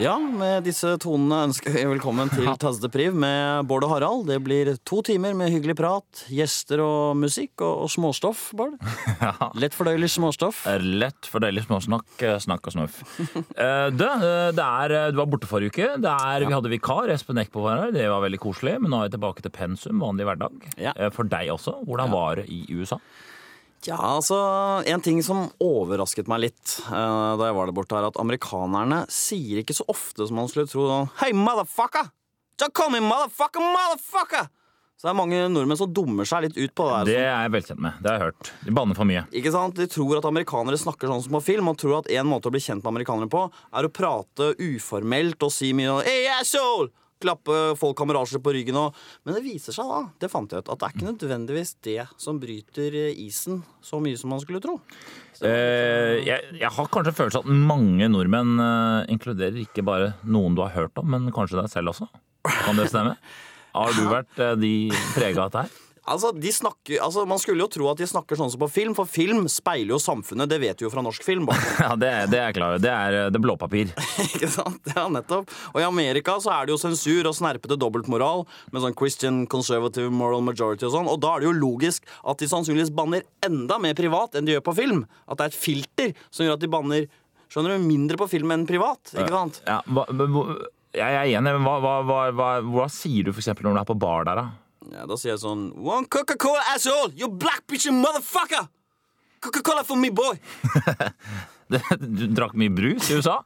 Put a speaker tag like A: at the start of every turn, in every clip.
A: Ja, med disse tonene ønsker vi velkommen til Taz de Priv med Bård og Harald. Det blir to timer med hyggelig prat, gjester og musikk og, og småstoff, Bård. Lett fordøyelig småstoff.
B: er lett for deilig småsnakk, eh, snakk og snorf. Eh, Du, eh, det er, eh, du var borte forrige uke. Det er, Vi hadde vikar, Espen Eckbo var her. Det var veldig koselig. Men nå er jeg tilbake til pensum, vanlig hverdag.
A: Ja.
B: Eh, For deg også. Hvordan var det i USA?
A: Ja, altså, En ting som overrasket meg litt eh, da jeg var der borte, er at amerikanerne sier ikke så ofte som man skulle tro sånn Hei, motherfucker! Don't call me motherfucker, motherfucker! Så det er mange nordmenn som dummer seg litt ut på det. her.
B: Det er jeg velkjent med. Det har jeg hørt. De banner for mye.
A: Ikke sant? De tror at amerikanere snakker sånn som på film, og tror at en måte å bli kjent med amerikanere på, er å prate uformelt og si mye sånn, hey, asshole! Klappe folk kamerasjer på ryggen og Men det viser seg da, det fant jeg ut, at det er ikke nødvendigvis det som bryter eh, isen så mye som man skulle tro.
B: Eh, Jeg, jeg har kanskje følelsen at mange nordmenn eh, inkluderer ikke bare noen du har hørt om, men kanskje deg selv også. Kan det stemme? Har du vært eh, de prega av dette her?
A: Altså, de snakker, altså, Man skulle jo tro at de snakker sånn som på film, for film speiler jo samfunnet. Det vet vi jo fra norsk film. Bare.
B: Ja, det, er- det er jeg klar over. Det er eh, det er blåpapir.
A: ikke sant? Ja, nettopp. Og i Amerika så er det jo sensur og snerpete dobbeltmoral med sånn Christian conservative moral majority og sånn. Og da er det jo logisk at de sannsynligvis banner enda mer privat enn de gjør på film. At det er et filter som gjør at de banner skjønner du, mindre på film enn privat. ikke sant?
B: Ja, hva, men hvor- jeg er enig, men hva, hva, hva, hva, hva sier du for eksempel når du er på bar der, da?
A: Ja, da sier jeg sånn One Coca-Cola asshole, you black bitch and motherfucker! Coca-Cola for me, boy!
B: Du drakk mye brus i USA?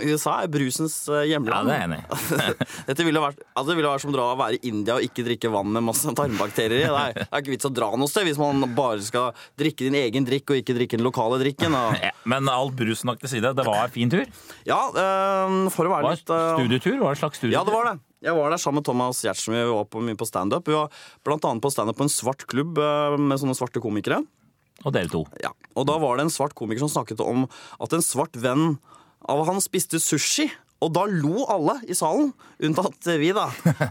A: USA er brusens eh,
B: Ja,
A: hjemland.
B: det er jeg enig i.
A: Dette ville vært, altså det ville vært som dra å være i India og ikke drikke vann med masse tarmbakterier i. Det er, det er ikke vits å dra noe sted hvis man bare skal drikke din egen drikk og ikke drikke den lokale drikken. Og,
B: Ja, Men all brussnakk til side, det var en fin tur. Det
A: ja, eh, for å være
B: var
A: litt eh,
B: studietur, var det en slags studietur?
A: Ja, det var det. Jeg var der sammen med Thomas Giertsen. Vi var på, mye på standup. Vi var blant annet på standup på en svart klubb eh, med sånne svarte komikere.
B: Og dere to.
A: Ja, og da var det en svart komiker som snakket om at en svart venn av han spiste sushi. Og da lo alle i salen, unntatt vi, da.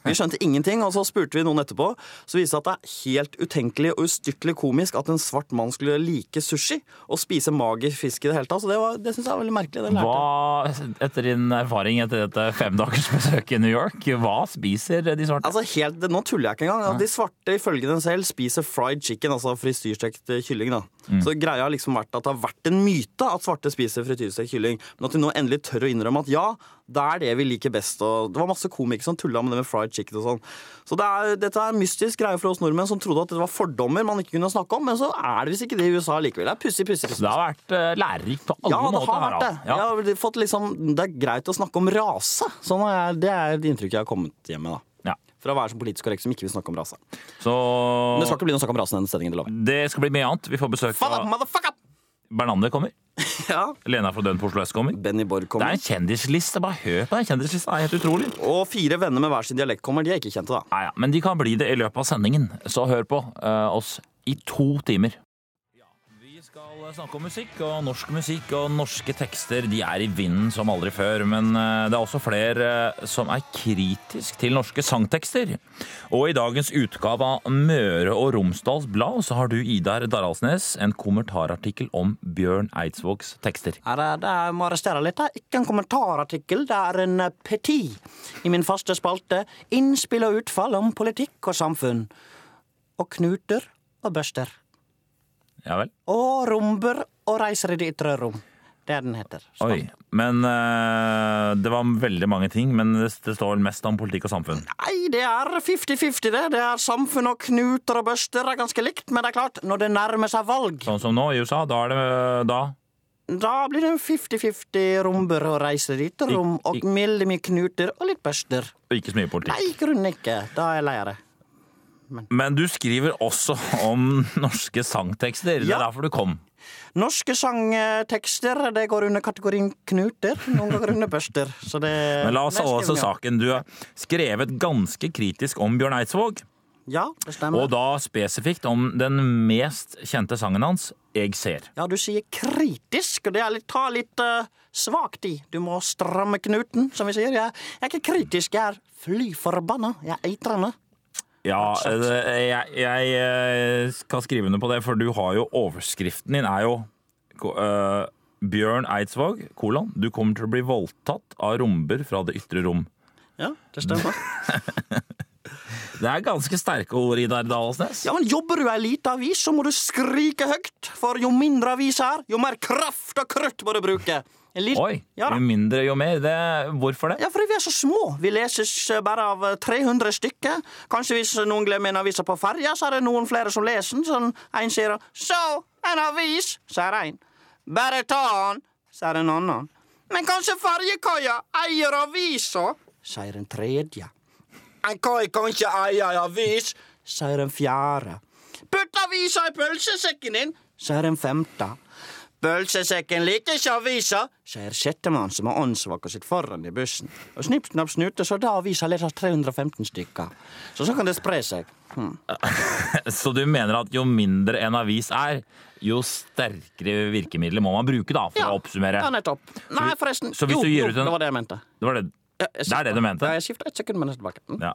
A: Vi skjønte ingenting, og så spurte vi noen etterpå. Så viste det seg at det er helt utenkelig og ustyrtelig komisk at en svart mann skulle like sushi og spise mager fisk i det hele tatt. Så det, var- det syns jeg er veldig merkelig. Det lærte jeg.
B: Hva, etter din erfaring etter dette femdagers besøk i New York, hva spiser de svarte?
A: Altså helt, Nå tuller jeg ikke engang. At de svarte ifølge dem selv spiser fried chicken, altså frityrstekt eh, kylling. da.
B: Mm.
A: Så greia har liksom vært at det har vært en myte at svarte spiser frityrstekt kylling. Men at de nå endelig tør å innrømme at ja, det er det vi liker best. Og det var masse komikere som tulla med det med fried chicken og sånn. Så det er, dette er en mystisk greie for oss nordmenn som trodde at det var fordommer man ikke kunne snakke om, men så er det visst ikke det i USA likevel. Det er pussig, pussig. pussig.
B: Det har vært eh, lærerikt på alle
A: Ja, det
B: måter. altså.
A: har vært det.
B: Harald.
A: Jeg har fått liksom, det er greit å snakke om rase. Sånn er, jeg- det er det inntrykket jeg har kommet hjem med. da.
B: Ja. Ja.
A: For å være så politisk korrekt som ikke vil snakke om rase. Men
B: Så
A: det skal ikke bli noe snakk om rasen i denne sendingen. det lover jeg.
B: det skal bli mye annet. Vi får besøk
A: Faen da,
B: av
A: motherfucker!
B: Bernander kommer.
A: Ja.
B: Lena fra Dønn på Oslo S kommer.
A: Benny Borg
B: Det er
A: kommer.
B: en kjendisliste. Bare hør på den kjendislista. Det er helt utrolig.
A: Og fire venner med hver sin dialekt kommer. De er ikke kjente, da.
B: Nei, ja, men de kan bli det i løpet av sendingen. Så hør på eh, oss i to timer. Vi skal eh, snakke om musikk, og norsk musikk og norske tekster de er i vinden som aldri før. Men eh, det er også flere eh, som er kritisk til norske sangtekster. Og i dagens utgave av Møre og Romsdals Blad så har du, Idar Daralsnes, en kommentarartikkel om Bjørn Eidsvågs tekster.
A: Her er det jeg må arrestere litt. Det er ikke en kommentarartikkel, det er en eh, petit i min faste spalte. Innspill og utfall om politikk og samfunn. Og knuter og børster.
B: Ja vel?
A: Og romber og reiser i det ytre rom. Det er den heter.
B: Oi. Men eh, det var veldig mange ting, men det, det står vel mest om politikk og samfunn.
A: Nei, det er 50-50, det. Det er samfunn og knuter og børster er ganske likt, men det er klart, når det nærmer seg valg,
B: Sånn som nå i USA, da er det eh, da
A: Da blir det en 50-50 romber og reiser dit og rom, og veldig mye knuter og litt børster.
B: ikke så mye politikk.
A: Nei, i grunnen ikke. Da er jeg lei av det.
B: Men du skriver også om norske sangtekster. Det
A: Ja.
B: er derfor du kom.
A: Norske sangtekster det går under kategorien knuter, noen ganger under børster. Så det
B: Men la oss
A: det
B: holde oss til
A: skriver vi om.
B: saken. Du har skrevet ganske kritisk om Bjørn Eidsvåg.
A: Ja, det
B: Og
A: stemmer.
B: da spesifikt om den mest kjente sangen hans, Jeg ser.
A: Ja, du sier kritisk, og det er litt, ta litt eh, svakt i. Du må stramme knuten, som vi sier. Jeg, jeg er ikke kritisk, jeg er fly forbanna. Jeg er eitrende.
B: Ja, eh, jeg, jeg eh, kan skrive under på det, for du har jo overskriften din er jo ko- eh, Bjørn Eidsvåg, kolon, du kommer til å bli voldtatt av romber fra det ytre rom.
A: Ja, det stemmer.
B: Det er ganske sterke ord, Idar Dalsnes.
A: Ja, men Jobber du i ei lita avis, så må du skrike høyt. For jo mindre avis er, jo mer kraft og krutt må du bruke. En lit-
B: Oi!
A: Ja, da.
B: Jo mindre, jo mer. Det, hvorfor det?
A: ja, fordi vi er så små. Vi leses eh, bare av eh, 300 stykker. Kanskje hvis noen glemmer en avis på ferja, så er det noen flere som leser den. Sånn, en sier 'Så, en avis', sier en. 'Bare ta den', sier en annen. 'Men kanskje ferjekaia eier avisa', sier en tredje. En kai kan ikke eie ei avis, sier den fjerde. Putt avisa i pølsesekken din, sier den femte. Pølsesekken liker ikke avisa, sier sjettemann som har åndssvaka sitt foran i bussen. Og snipp, snapp, snute, så da avisa leser 315 stykker. Så så kan det spre seg. Hm.
B: Så du mener at jo mindre en avis er, jo sterkere virkemidler må man bruke da, for å oppsummere?
A: Ja, nettopp. Nei, forresten.
B: så hvis
A: jo,
B: du gir
A: jo,
B: ut en-
A: det var det jeg mente.
B: Det var det.
A: Ja, jeg
B: Det er det du mente?
A: skifter- Ja, jeg skifter et sekund, men jeg er tilbake. Hm.
B: Ja.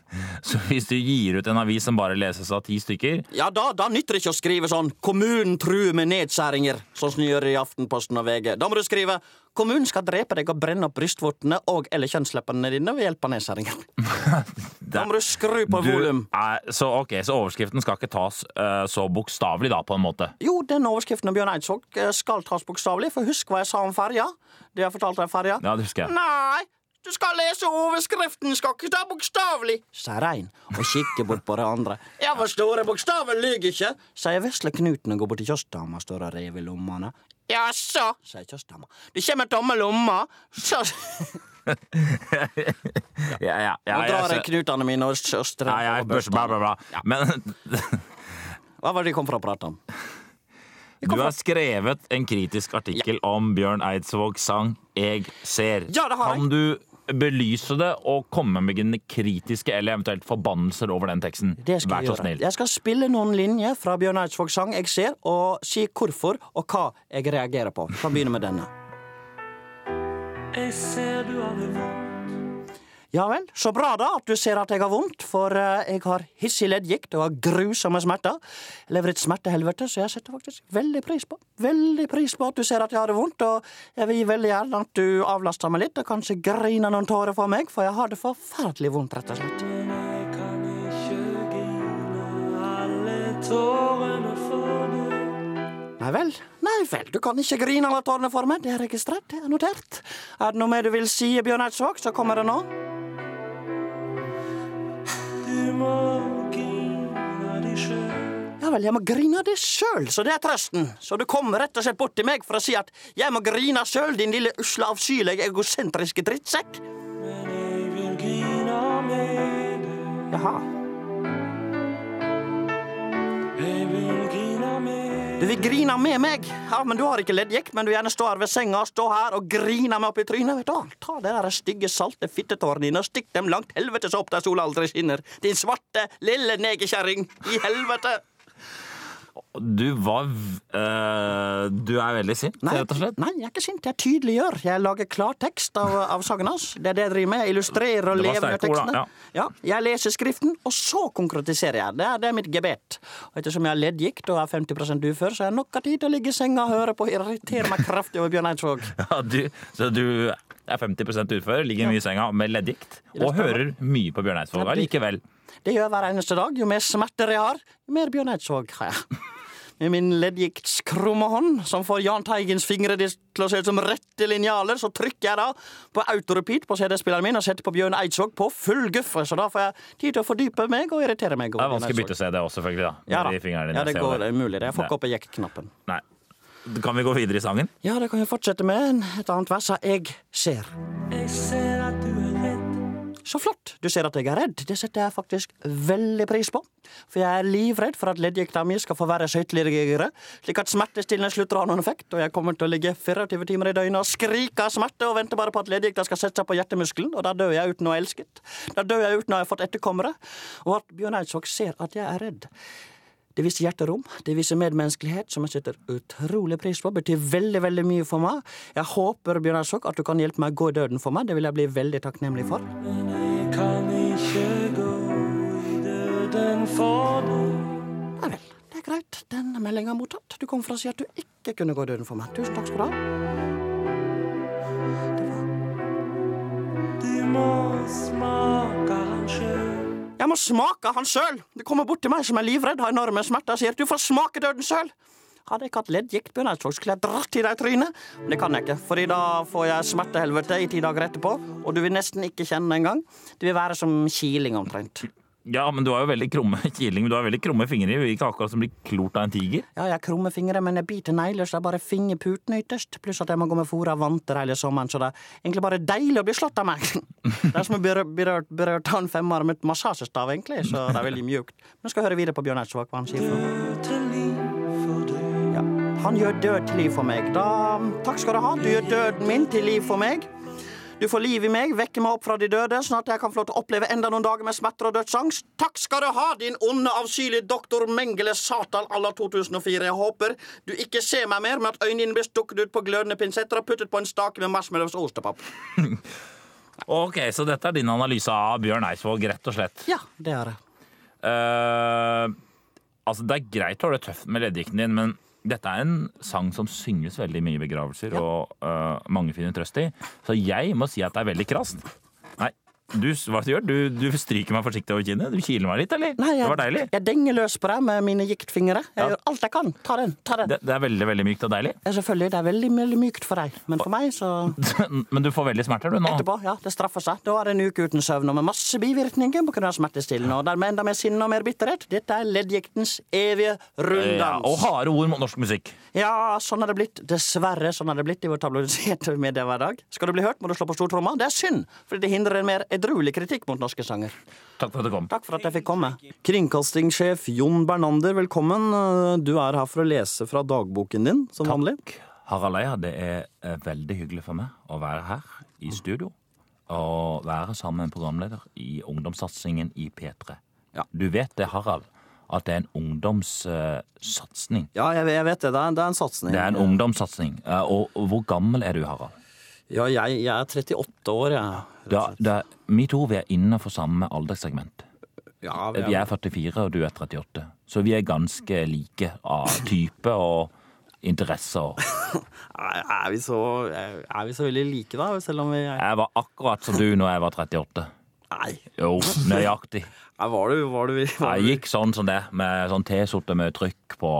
B: Så hvis du gir ut en avis som bare leses av ti stykker,
A: Ja, da, da nytter det ikke å skrive sånn 'Kommunen truer med nedskjæringer', sånn som de gjør i Aftenposten og VG. Da må du skrive 'Kommunen skal drepe deg og brenne opp brystvortene og eller kjønnsleppene dine ved hjelp av nedskjæringer'. da må du skru på
B: du
A: volum.
B: er, så, ok, så overskriften skal ikke tas eh, så bokstavelig, da, på en måte.
A: Jo, den overskriften av Bjørn Eidsvåg eh, skal tas bokstavelig, for husk hva jeg sa om ferja. Det jeg fortalte deg om ferja.
B: Ja, det husker jeg.
A: Nei, du skal lese overskriften, skal ikke ta bokstavelig, sier en og kikker bort på de andre. Ja, for store bokstaver lyver ikke, sier vesle Knuten og går bort til kioskdama, står og rev i lommene. Jaså, sier kioskdama. Du kommer tomme lomma, så
B: Ja, ja, ja,
A: Nå
B: jeg-
A: drar jeg
B: så-
A: knutene mine og
B: altså-
A: søstera
B: Nei, jeg børs, bla, bla, bla. Men
A: Hva var det de kom for å prate om?
B: du har skrevet en kritisk artikkel om Bjørn Eidsvågs sang 'Jeg ser'.
A: Ja, det har jeg.
B: Kan du belyse det og komme med dine kritiske eller eventuelt forbannelser over den teksten?
A: Det skal
B: Vær
A: jeg
B: så
A: gjøre.
B: snill.
A: Jeg skal spille noen linjer fra Bjørn Eidsvågs sang jeg ser, og si hvorfor og hva jeg reagerer på. Vi kan begynne med denne.
C: Jeg ser du har det vondt.
A: Ja vel, så bra da at du ser at jeg har vondt, for eh, jeg har hissig leddgikt og har grusomme smerter. Jeg lever i et smertehelvete, så jeg setter faktisk veldig pris på Veldig pris på at du ser at jeg har det vondt, og jeg vil veldig gjerne at du avlaster meg litt og kanskje griner noen tårer for meg, for jeg har det forferdelig vondt, rett og slett.
C: Men jeg kan ikke grine alle tårene for deg.
A: Nei vel, nei vel, du kan ikke grine alle tårene for meg, det er registrert, det er notert. Er det noe mer du vil si, Bjørn Eidsvåg, så kommer det nå.
C: Du må grine deg sjøl.
A: Ja vel, jeg må grine av det sjøl, så det er trøsten. Så du kom rett og slett bort til meg for å si at jeg må grine sjøl, din lille usle avskyelige egosentriske drittsekk.
C: Men jeg vil grine med deg.
A: Jaha.
C: Jeg vil grine med
A: Du vil grine med meg. Ja, men du har ikke leddgikt, men du gjerne står her ved senga, stå her og grine meg opp i trynet. Vet du hva? Ta de der stygge, salte fittetårene dine og stikk dem langt helvete så opp der sola aldri skinner. Din svarte, lille negerkjerring. I helvete.
B: Du var v- eh, Du er veldig sint,
A: Nei,
B: rett og slett?
A: nei, jeg er ikke sint. Jeg tydeliggjør. Jeg lager klar tekst av, av sangen hans. Det er det jeg driver med. Jeg illustrerer og
B: Det var
A: lever med
B: sterke ord, da.
A: tekstene. Ja, jeg leser skriften, og så konkretiserer jeg. Det er, det er mitt gebet. Og ettersom jeg har leddgikt og er 50 ufør, så har jeg nok av tid til å ligge i senga og høre på og irritere meg kraftig over Bjørn Eidsvåg.
B: Ja, du, så du er 50 utfører, ligger mye i senga med leddgikt og
A: stemmer.
B: hører mye på Bjørn Eidsvåg allikevel.
A: Det gjør jeg hver eneste dag. Jo mer smerter jeg har, jo mer Bjørn Eidsvåg har jeg. Med min leddgikts krumme hånd, som får Jahn Teigens fingre til å se ut som rette linjaler, så trykker jeg da på autorepeat på CD-spilleren min og setter på Bjørn Eidsvåg på full guffe, så da får jeg tid til å fordype meg og irritere meg.
B: Det
A: over
B: er vanskelig å
A: Bjørn
B: bytte
A: Eidsvåg.
B: CD også, selvfølgelig. da.
A: Ja, da.
B: Med de fingrene dine
A: ja,
B: jeg
A: det
B: ser
A: går
B: over.
A: det er mulig. Jeg får ikke opp jekk-knappen.
B: Nei. Kan vi gå videre i sangen?
A: Ja, det kan jeg fortsette med. Et annet vers er 'Jeg ser'.
C: Jeg ser at du er redd.
A: Så flott! Du ser at jeg er redd. Det setter jeg faktisk veldig pris på. For jeg er livredd for at leddgikta mi skal forverre skøyteligere, slik at smertestillende slutter å ha noen effekt, og jeg kommer til å ligge 24 timer i døgnet og skrike av smerte og vente bare på at leddgikta skal sette seg på hjertemuskelen, og da dør jeg uten å ha elsket. Da dør jeg uten å ha fått etterkommere. Og at Bjørn Eidsvåg ser at jeg er redd. Det viser hjerterom, det viser medmenneskelighet, som jeg setter utrolig pris på. Betyr veldig veldig mye for meg. Jeg håper Bjørn Eidsvåg, at du kan hjelpe meg å gå i døden for meg. Det vil jeg bli veldig takknemlig for.
C: Men jeg kan ikke gå i døden for deg.
A: Nei vel, det er greit. Denne meldinga er mottatt. Du kom for å si at du ikke kunne gå i døden for meg. Tusen takk skal du ha.
C: Du må smake han sjøl.
A: Jeg må smake han sjøl! Det kommer bort til meg som er livredd, har enorme smerter, og sier du får smake døden sjøl! Hadde jeg ikke hatt leddgikt, Bjørn Eidsvåg, skulle jeg dratt i deg i trynet. Men det kan jeg ikke, for da får jeg smertehelvete i ti dager etterpå, og du vil nesten ikke kjenne det engang. Det vil være som kiling omtrent.
B: Ja, men du har jo veldig krumme kiling, men du har veldig krumme fingre. Vi er ikke akkurat som blir klort av en tiger.
A: Ja, jeg krummer fingre, men jeg biter negler, så jeg bare finger puten ytterst. Pluss at jeg må gå med fôr av vanter hele sommeren, så det er egentlig bare deilig å bli slått av meg. Det er som å berørt, berørt, berørt av en femarmet massasjestav, egentlig, så det er veldig mjukt. Men jeg skal høre videre på Bjørn Eidsvåg, hva han sier. For.
C: Død til liv for deg.
A: Ja. Han gjør død til liv for meg. Da, takk skal du ha. Du gjør døden min til liv for meg. Du får liv i meg, vekker meg opp fra de døde, sånn at jeg kan få lov til å oppleve enda noen dager med smerter og dødsangst. Takk skal du ha, din onde, avskyelige doktor Mengele Satan à la 2004. Jeg håper du ikke ser meg mer, men at øynene dine blir stukket ut på glødende pinsetter og puttet på en stake med marshmallows og ostepop.
B: Ok, så dette er din analyse av Bjørn Eidsvåg, rett og slett.
A: Ja, det er det.
B: Eh, altså, det er greit å ha det tøft med leddgikten din, men dette er en sang som synges veldig mye i begravelser, og eh, mange finner trøst i. Så jeg må si at det er veldig krast. Nei, du, hva er det du gjør? Du, du stryker meg forsiktig over kinnet? Du kiler meg litt, eller?
A: Nei,
B: Det var deilig.
A: jeg, jeg denger løs på deg med mine giktfingre. Jeg
B: Ja.
A: gjør alt jeg kan. Ta den, ta den.
B: Det, det er veldig, veldig mykt og deilig.
A: Ja, Selvfølgelig, det er veldig, veldig mykt for deg, men for meg så
B: Men du får veldig smerter, du, nå.
A: etterpå. Ja, det straffer seg. Da er det en uke uten søvn og med masse bivirkninger på grunn av smertestillende og dermed enda mer sinne og mer bitterhet. Dette er leddgiktens evige
B: Ja, og
A: runddans.
B: harde ord mot norsk musikk.
A: Ja, sånn er det blitt. Dessverre sånn er det blitt i vår tabloidiserte medie hver dag. Skal du bli hørt, må du slå på stortromma. Det er synd, fordi det hindrer en mer edruelig kritikk mot norske sanger.
B: Takk for at du kom.
A: Takk for at jeg fikk komme. Kringkastingssjef Jon Bernander, velkommen. Eh, Du er her for å lese fra dagboken din, som vanlig.
B: Harald Eia, det er eh, veldig hyggelig for meg å være her i studio og være sammen med en programleder i ungdomssatsingen i P3.
A: Ja.
B: Du vet det, Harald, at det er en ungdomssatsing.
A: Ja, jeg, jeg vet det. Det er, det er en satsing.
B: Det er en ungdomssatsing. Eh, Og og hvor gammel er du, Harald?
A: Ja, jeg, jeg er 38 år, jeg.
B: Da, da, vi to vi er innenfor samme alderssegment.
A: Ja,
B: Vi er 44, og du er 38. Så vi er ganske like av type og interesser.
A: Er er vi, så, er er vi så veldig like, da? Selv om vi er
B: Jeg var akkurat som du når jeg var 38.
A: Nei.
B: Jo, nøyaktig.
A: Nei, Var du, var du, var
B: Jeg
A: du.
B: gikk sånn som det, med sånn T-skjorte med trykk på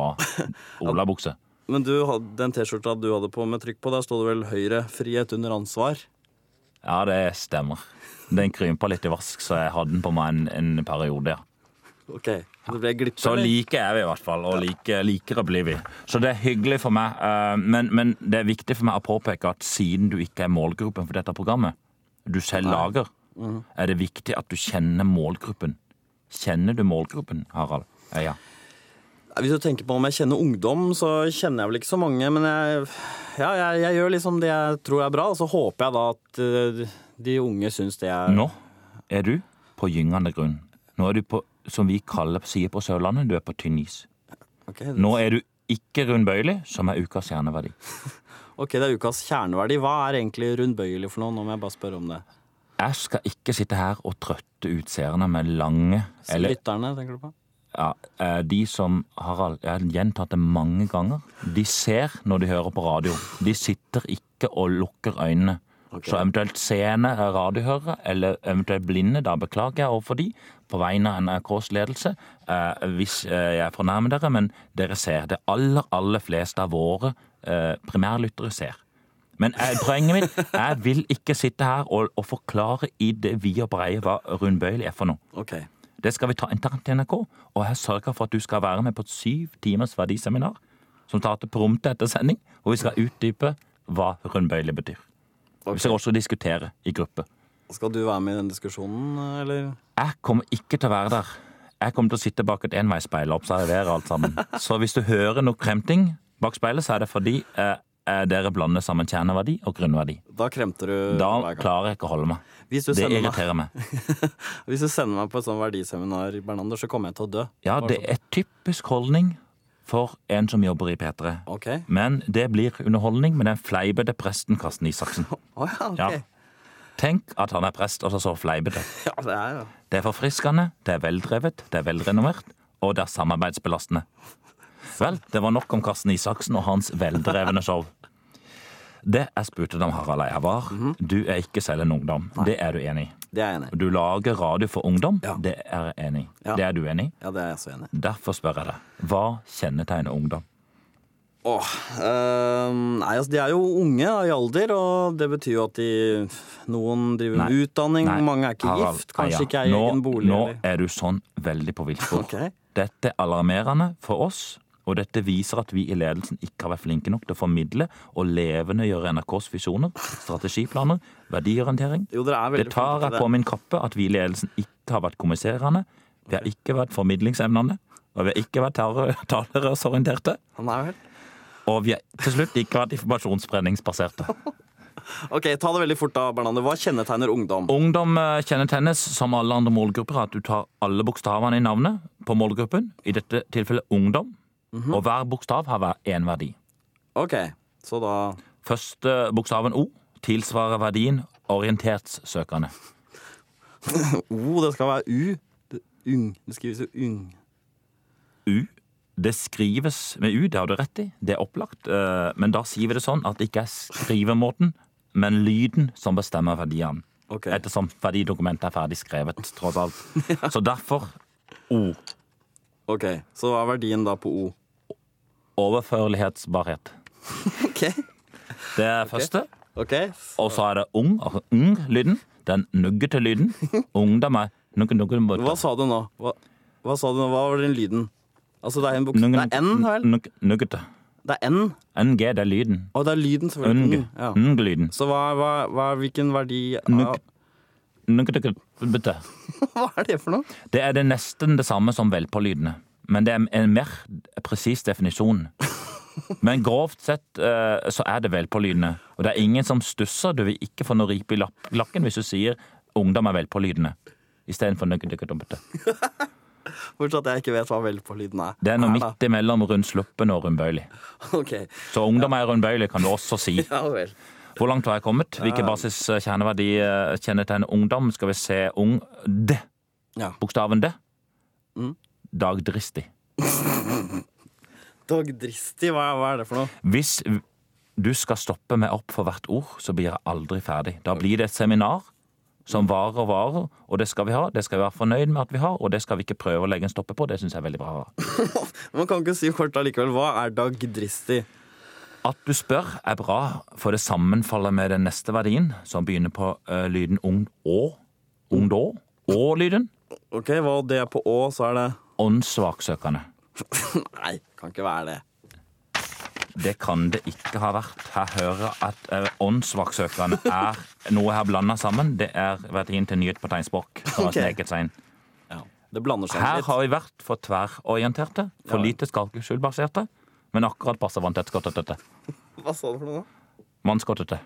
B: olabukse.
A: Men du hadde, den T-skjorta du hadde på med trykk på, der stod det vel 'Høyre frihet under ansvar'?
B: Ja, det stemmer. Den krympa litt i vask, så jeg hadde den på meg en, en periode, ja.
A: Ok, Det ble glipp.
B: Så
A: eller?
B: like er vi i hvert fall, og like, likere blir vi. Så det er hyggelig for meg, eh, men, men det er viktig for meg å påpeke at siden du ikke er målgruppen for dette programmet, du selv lager, er det viktig at du kjenner målgruppen. Kjenner du målgruppen, Harald? Ja.
A: Nei, Hvis du tenker på om jeg kjenner ungdom, så kjenner jeg vel ikke så mange. Men jeg, ja, jeg, jeg gjør liksom det jeg tror er bra, og så håper jeg da at eh, de unge syns det er
B: Nå er du på gyngende grunn. Nå er du på, som vi kaller, sier på Sørlandet, du er på tynn is.
A: Ok,
B: Nå er du ikke rundbøyelig, som er ukas kjerneverdi.
A: ok, det er ukas kjerneverdi. Hva er egentlig rundbøyelig for noe? Nå må jeg bare spørre om det.
B: Jeg skal ikke sitte her og trøtte ut seerne med lange eller
A: Lytterne, tenker du på?
B: ja, eh, De som Harald, jeg har gjentatt det mange ganger, de ser når de hører på radio. De sitter ikke og lukker øynene. Så eventuelt seende eh, radiohørere, eller eventuelt blinde, da beklager jeg overfor de på vegne av NRKs ledelse eh, hvis eh, jeg fornærmer dere, men dere ser. Det aller, aller fleste av våre eh, primærlyttere ser. Men eh, poenget mitt, jeg vil ikke sitte her og, og forklare i det vide og breie hva rundbøyelig er for noe.
A: Ok.
B: Det skal vi ta internt i NRK, og jeg sørger for at du skal være med på et syv timers verdiseminar som starter prompte etter sending, og vi skal utdype hva rundbøyle betyr. Vi skal også diskutere i gruppe.
A: Skal du være med i den diskusjonen, eller?
B: Jeg kommer ikke til å være der. Jeg kommer til å sitte bak et enveisspeil og observere alt sammen. Så hvis du hører noe kremting bak speilet, så er det fordi eh, eh, dere blander sammen kjerneverdi og grunnverdi.
A: Da kremter du
B: Da
A: hver gang.
B: klarer jeg ikke å holde meg.
A: Hvis du,
B: Det
A: sender meg,
B: irriterer meg.
A: hvis du sender meg på et sånt verdiseminar, Bernander, så kommer jeg til å dø.
B: Ja, det er typisk holdning for en som jobber i P3.
A: Ok.
B: Men det blir underholdning med den fleipete presten Karsten Isaksen.
A: Å ja, ok.
B: Ja. Tenk at han er prest, og så så fleipete.
A: Ja, det er jo
B: Det er forfriskende, det er veldrevet, det er velrenommert, og det er samarbeidsbelastende. Vel, det var nok om Karsten Isaksen og hans veldrevne show. Det jeg spurte deg om, Harald Eia, var
A: Mhm.
B: du er ikke selv en ungdom. Det er du enig i.
A: Det er jeg enig i.
B: Du lager radio for ungdom.
A: Ja.
B: Det er jeg enig i.
A: Ja.
B: Det er du enig i.
A: Ja, det er jeg så enig i.
B: Derfor spør jeg deg. Hva kjennetegner ungdom?
A: Åh, eh, nei, altså De er jo unge da, i alder, og det betyr jo at de Noen driver
B: Nei.
A: med utdanning,
B: Nei,
A: mange er ikke
B: Harald
A: gift, kanskje
B: Eia,
A: ikke eier egen bolig.
B: Nå
A: eller-
B: er du sånn veldig på villspor.
A: Ok.
B: Dette er alarmerende for oss, og dette viser at vi i ledelsen ikke har vært flinke nok til å formidle og levendegjøre NRKs visjoner, strategiplaner, verdiorientering.
A: Jo, dere er veldig
B: Det tar
A: flinke
B: jeg
A: til
B: på min kappe at vi i ledelsen ikke har vært kommuniserende, vi har ikke vært formidlingsevnende, og vi har ikke vært tar- talerørsorienterte,
A: Nei vel.
B: og vi har til slutt ikke vært informasjonsspredningsbaserte.
A: Ok, Ta det veldig fort, da, Bernander. Hva kjennetegner ungdom?
B: Ungdom eh, kjennetegnes som alle andre målgrupper at du tar alle bokstavene i navnet på målgruppen, i dette tilfellet ungdom, og hver bokstav har hver én verdi.
A: Ok, så da
B: Første bokstaven O tilsvarer verdien orientertssøkende.
A: O, Oh, det skal være U. Det, ung. Det skrives jo ung.
B: U, det skrives med U, det har du rett i, det er opplagt, eh, men da sier vi det sånn at det ikke er skrivemåten, men lyden som bestemmer verdien.
A: Ok.
B: Ettersom verdidokumentet er ferdig skrevet, tross alt. Så derfor O.
A: ok, Så hva er verdien da på O?
B: Overførlighetsbarhet.
A: Ok,
B: Det er første.
A: ok.
B: Og så er det ung, altså ung-lyden. Den nuggete lyden. Ungdom er nugge, nugge, nugge.
A: Hva sa du nå? Hva, hva sa du nå? Hva var den lyden? Altså, det er en bok...
B: Nugge,
A: Det er N, vel?
B: nugge, Nuggete.
A: Det er N.
B: NG, det er lyden.
A: Å, det er lyden, selvfølgelig.
B: Unge.
A: Mm, Ja.
B: Ung-lyden.
A: Så hva, hva, hva, hvilken verdi
B: Nugg- Nuggete, nuggete.
A: Hva er det for noe?
B: Det er det nesten det samme som velpålydende. Men det er en mer presis definisjon. Men grovt sett eh, så er det velpålydende. Og det er ingen som stusser. Du vil ikke få noe ripe i lak- lakken hvis du sier 'ungdom er velpålydende' istedenfor 'nuggete, nuggete, nuggete'.
A: Fortsatt jeg ikke vet hva velpålyden er.
B: Det er noe
A: Nei, da.
B: midt imellom rundsluppen og rundbøylig.
A: Ok,
B: Så ungdom er rundbøylig, kan du også si.
A: ja vel.
B: Hvor langt har jeg kommet? Hvilke basis eh, kjerneverdi eh, kjennetegner ungdom? Skal vi se ung D.
A: Ja.
B: Bokstaven D.
A: Mm.
B: Dagdristig.
A: Dagdristig, hva, hva er det for noe?
B: Hvis v- du skal stoppe meg opp for hvert ord, så blir jeg aldri ferdig. Da blir det et seminar som varer og varer, og det skal vi ha. Det skal vi være fornøyd med at vi har, og det skal vi ikke prøve å legge en stopper på. Det syns jeg er veldig bra.
A: Man kan ikke si kort allikevel. Hva er dagdristig?
B: At du spør er bra, for det sammenfaller med den neste verdien, som begynner på eh, lyden ung å. Ung da. Å-lyden.
A: Ok, hva det er på Å, så er det
B: Åndssvaksøkende.
A: Nei, kan ikke være det.
B: Det kan det ikke ha vært. Her hører jeg at eh, åndssvaksøkende er noe jeg har blanda sammen. Det er verdien til nyhet på tegnspråk. som har
A: Ok.
B: sneket seg inn.
A: Det blander seg
B: Her
A: litt.
B: har vi vært for tverrorienterte, for
A: Ja.
B: lite skalkeskjulbaserte, men akkurat passe vanntett
A: Hva sa du for noe da?
B: Vannskottete.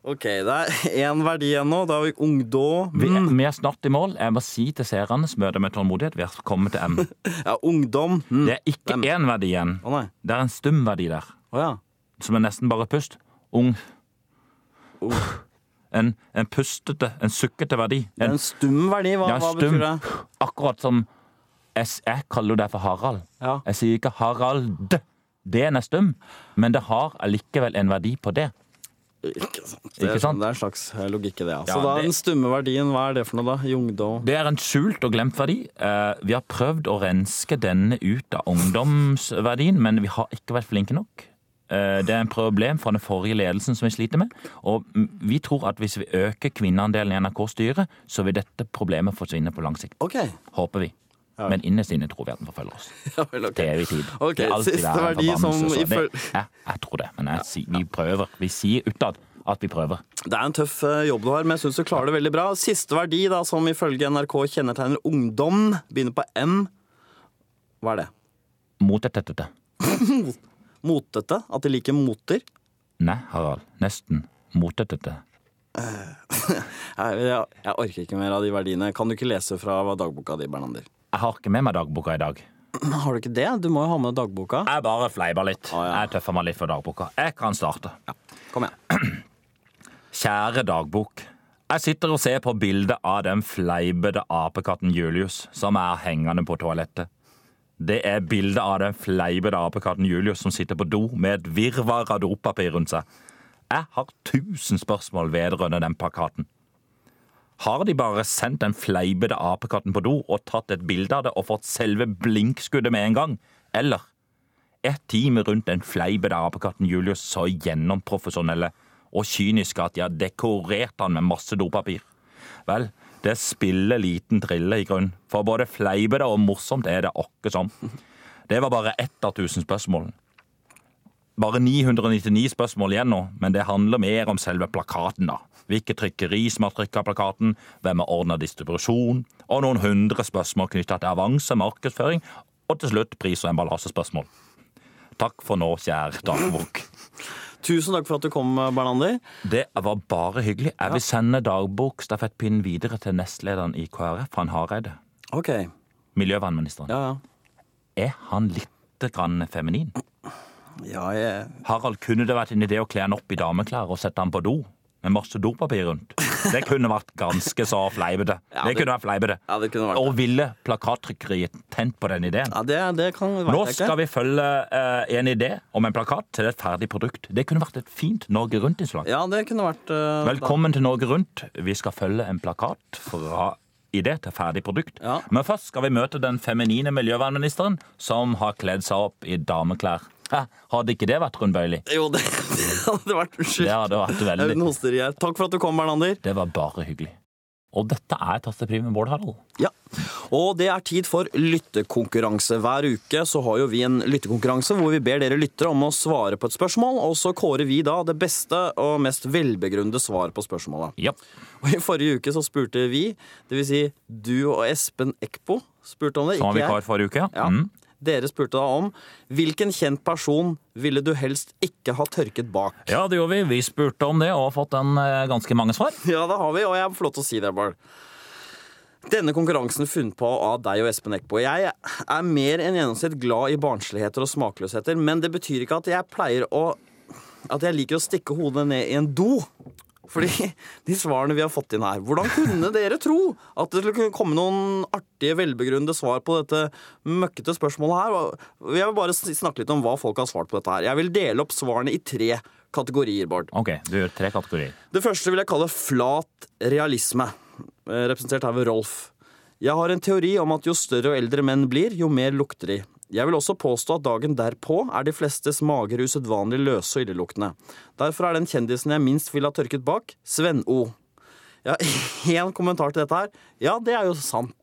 A: Ok, det er én verdi igjen nå. Da har vi ungdom.
B: Vi, er- Mm, vi er snart i mål. Jeg må si til seerne som møter med tålmodighet, vi er kommet til M.
A: Ja, ungdom. Hm.
B: Det er ikke én verdi igjen.
A: Å nei.
B: Det er en stum verdi der,
A: Å ja.
B: som er nesten bare pust. Ung. En, en pustete, en sukkete verdi.
A: Det er
B: En,
A: en stum verdi. Hva,
B: ja,
A: hva
B: stum.
A: betyr det?
B: Akkurat som jeg, s- jeg kaller jo deg for Harald.
A: Ja.
B: Jeg sier ikke Harald. D-en er stum, men det har allikevel en verdi på det.
A: Ikke sant. Det,
B: Ikke
A: er- sånn,
B: sant?
A: det er en slags eh, logikk i det. Ja.
B: Ja,
A: så da
B: det-
A: er den stumme verdien, hva er det for noe da? I ungdom?
B: Det er en skjult og glemt verdi. Eh, Vi har prøvd å renske denne ut av ungdomsverdien, men vi har ikke vært flinke nok. Eh, Det er en problem fra den forrige ledelsen som vi sliter med. Og mm, vi tror at hvis vi øker kvinneandelen i NRK-styret, så vil dette problemet forsvinne på lang sikt.
A: Ok.
B: Håper vi. Men innerst inne tror vi at den forfølger oss.
A: Ja, vel, ok.
B: Det er vi tid.
A: Ok,
B: det er alltid
A: siste
B: der en
A: verdi som
B: forbannelse, så
A: iføl-
B: det, jeg, jeg tror det, men jeg, sier- vi prøver. Vi sier utad at vi prøver.
A: Det er en tøff eh, jobb du har, men jeg syns du klarer det veldig bra. Siste verdi, da, som ifølge NRK kjennetegner ungdom, begynner på M. Hva er det?
B: Mot et tettete.
A: Motete? At de liker moter?
B: Nei, Harald. Nesten. Mot et tettete.
A: Jeg, jeg, jeg orker ikke mer av de verdiene. Kan du ikke lese fra dagboka di, Bernander?
B: Jeg har ikke med meg dagboka i dag.
A: Har du ikke det? Du må jo ha med dagboka.
B: Jeg bare fleiper litt.
A: Å, ja.
B: Jeg tøffer meg litt for dagboka. Jeg kan starte.
A: Kom igjen.
B: Kjære dagbok. Jeg sitter og ser på bildet av den fleipete apekatten Julius som er hengende på toalettet. Det er bildet av den fleipete apekatten Julius som sitter på do med et virvar av dopapir rundt seg. Jeg har tusen spørsmål vedrørende den plakaten. Har de bare sendt den fleipete apekatten på do og tatt et bilde av det og fått selve blinkskuddet med en gang? Eller er teamet rundt den fleipete apekatten Julius så gjennomprofesjonelle og kyniske at de har dekorert han med masse dopapir? Vel, det spiller liten trille i grunn, for både fleipete og morsomt er det åkke som. Det var bare ett av tusen spørsmål. Bare 999 spørsmål igjen nå, men det handler mer om selve plakaten, da. Hvilket trykkeri som har trykka plakaten, hvem har ordna distribusjon, og noen hundre spørsmål knytta til avanse, markedsføring, og til slutt pris- og emballasjespørsmål. Takk for nå, kjære dagbok.
A: Tusen takk for at du kom, Bernander.
B: Det var bare hyggelig. Jeg vil sende dagbokstafettpinnen videre til nestlederen i KrF, han Hareide.
A: OK.
B: Miljøvernministeren.
A: Ja, ja.
B: Er han lite grann feminin?
A: Ja, jeg...
B: Harald, kunne det vært en idé å kle han opp i dameklær og sette han på do? Med masse dopapir rundt. Det kunne vært ganske så fleipete.
A: Ja,
B: Det
A: det-
B: kunne vært fleipete.
A: ja, det kunne vært det.
B: Og ville plakattrykkeriet tent på den ideen?
A: Ja, det, det kan være
B: Nå skal vi følge eh, en idé om en plakat til et ferdig produkt. Det kunne vært et fint Norge Rundt-innslag.
A: Ja, det kunne vært eh,
B: Velkommen til Norge Rundt. Vi skal følge en plakat fra idé til ferdig produkt.
A: Ja.
B: Men først skal vi møte den feminine miljøvernministeren som har kledd seg opp i dameklær. Hæ, hadde ikke det vært rundbøyelig?
A: da. Jo, det, det hadde vært Unnskyld.
B: Det hadde vært
A: Jeg er
B: veldig
A: uten hoster i her. Takk for at du kom, Bernander.
B: Det var bare hyggelig. Og dette er Tastepriv med Bård Harald.
A: Ja. Og det er tid for lyttekonkurranse. Hver uke så har jo vi en lyttekonkurranse hvor vi ber dere lyttere om å svare på et spørsmål, og så kårer vi da det beste og mest velbegrunnede svar på spørsmålet.
B: Ja.
A: Og i forrige uke så spurte vi, dvs. Si du og Espen Eckbo spurte om det,
B: Som var
A: ikke jeg.
B: vikar forrige uke.
A: Ja.
B: Mm.
A: Dere spurte da om hvilken kjent person ville du helst ikke ha tørket bak?
B: ja, det gjorde vi. Vi spurte om det og har fått en eh, ganske mange svar.
A: Ja, det har vi, og jeg får lov til å si det, Bård. Denne konkurransen er funnet på av deg og Espen Eckbo. Jeg er mer enn gjennomsnitt glad i barnsligheter og smakløsheter, men det betyr ikke at jeg pleier å At jeg liker å stikke hodet ned i en do. Fordi de svarene vi har fått inn her Hvordan kunne dere tro at det skulle kunne komme noen artige, velbegrunnede svar på dette møkkete spørsmålet her? Og Jeg vil bare sn- snakke litt om hva folk har svart på dette her. Jeg vil dele opp svarene i tre kategorier, Bård.
B: OK, du gjør tre kategorier.
A: Det første vil jeg kalle flat realisme, eh, representert her ved Rolf. Jeg har en teori om at jo større og eldre menn blir, jo mer lukter de. Jeg vil også påstå at dagen derpå er de flestes mager usedvanlig løse og illeluktende. Derfor er den kjendisen jeg minst ville ha tørket bak, Sven O. Ja, Én kommentar til dette her. Ja, det er jo sant.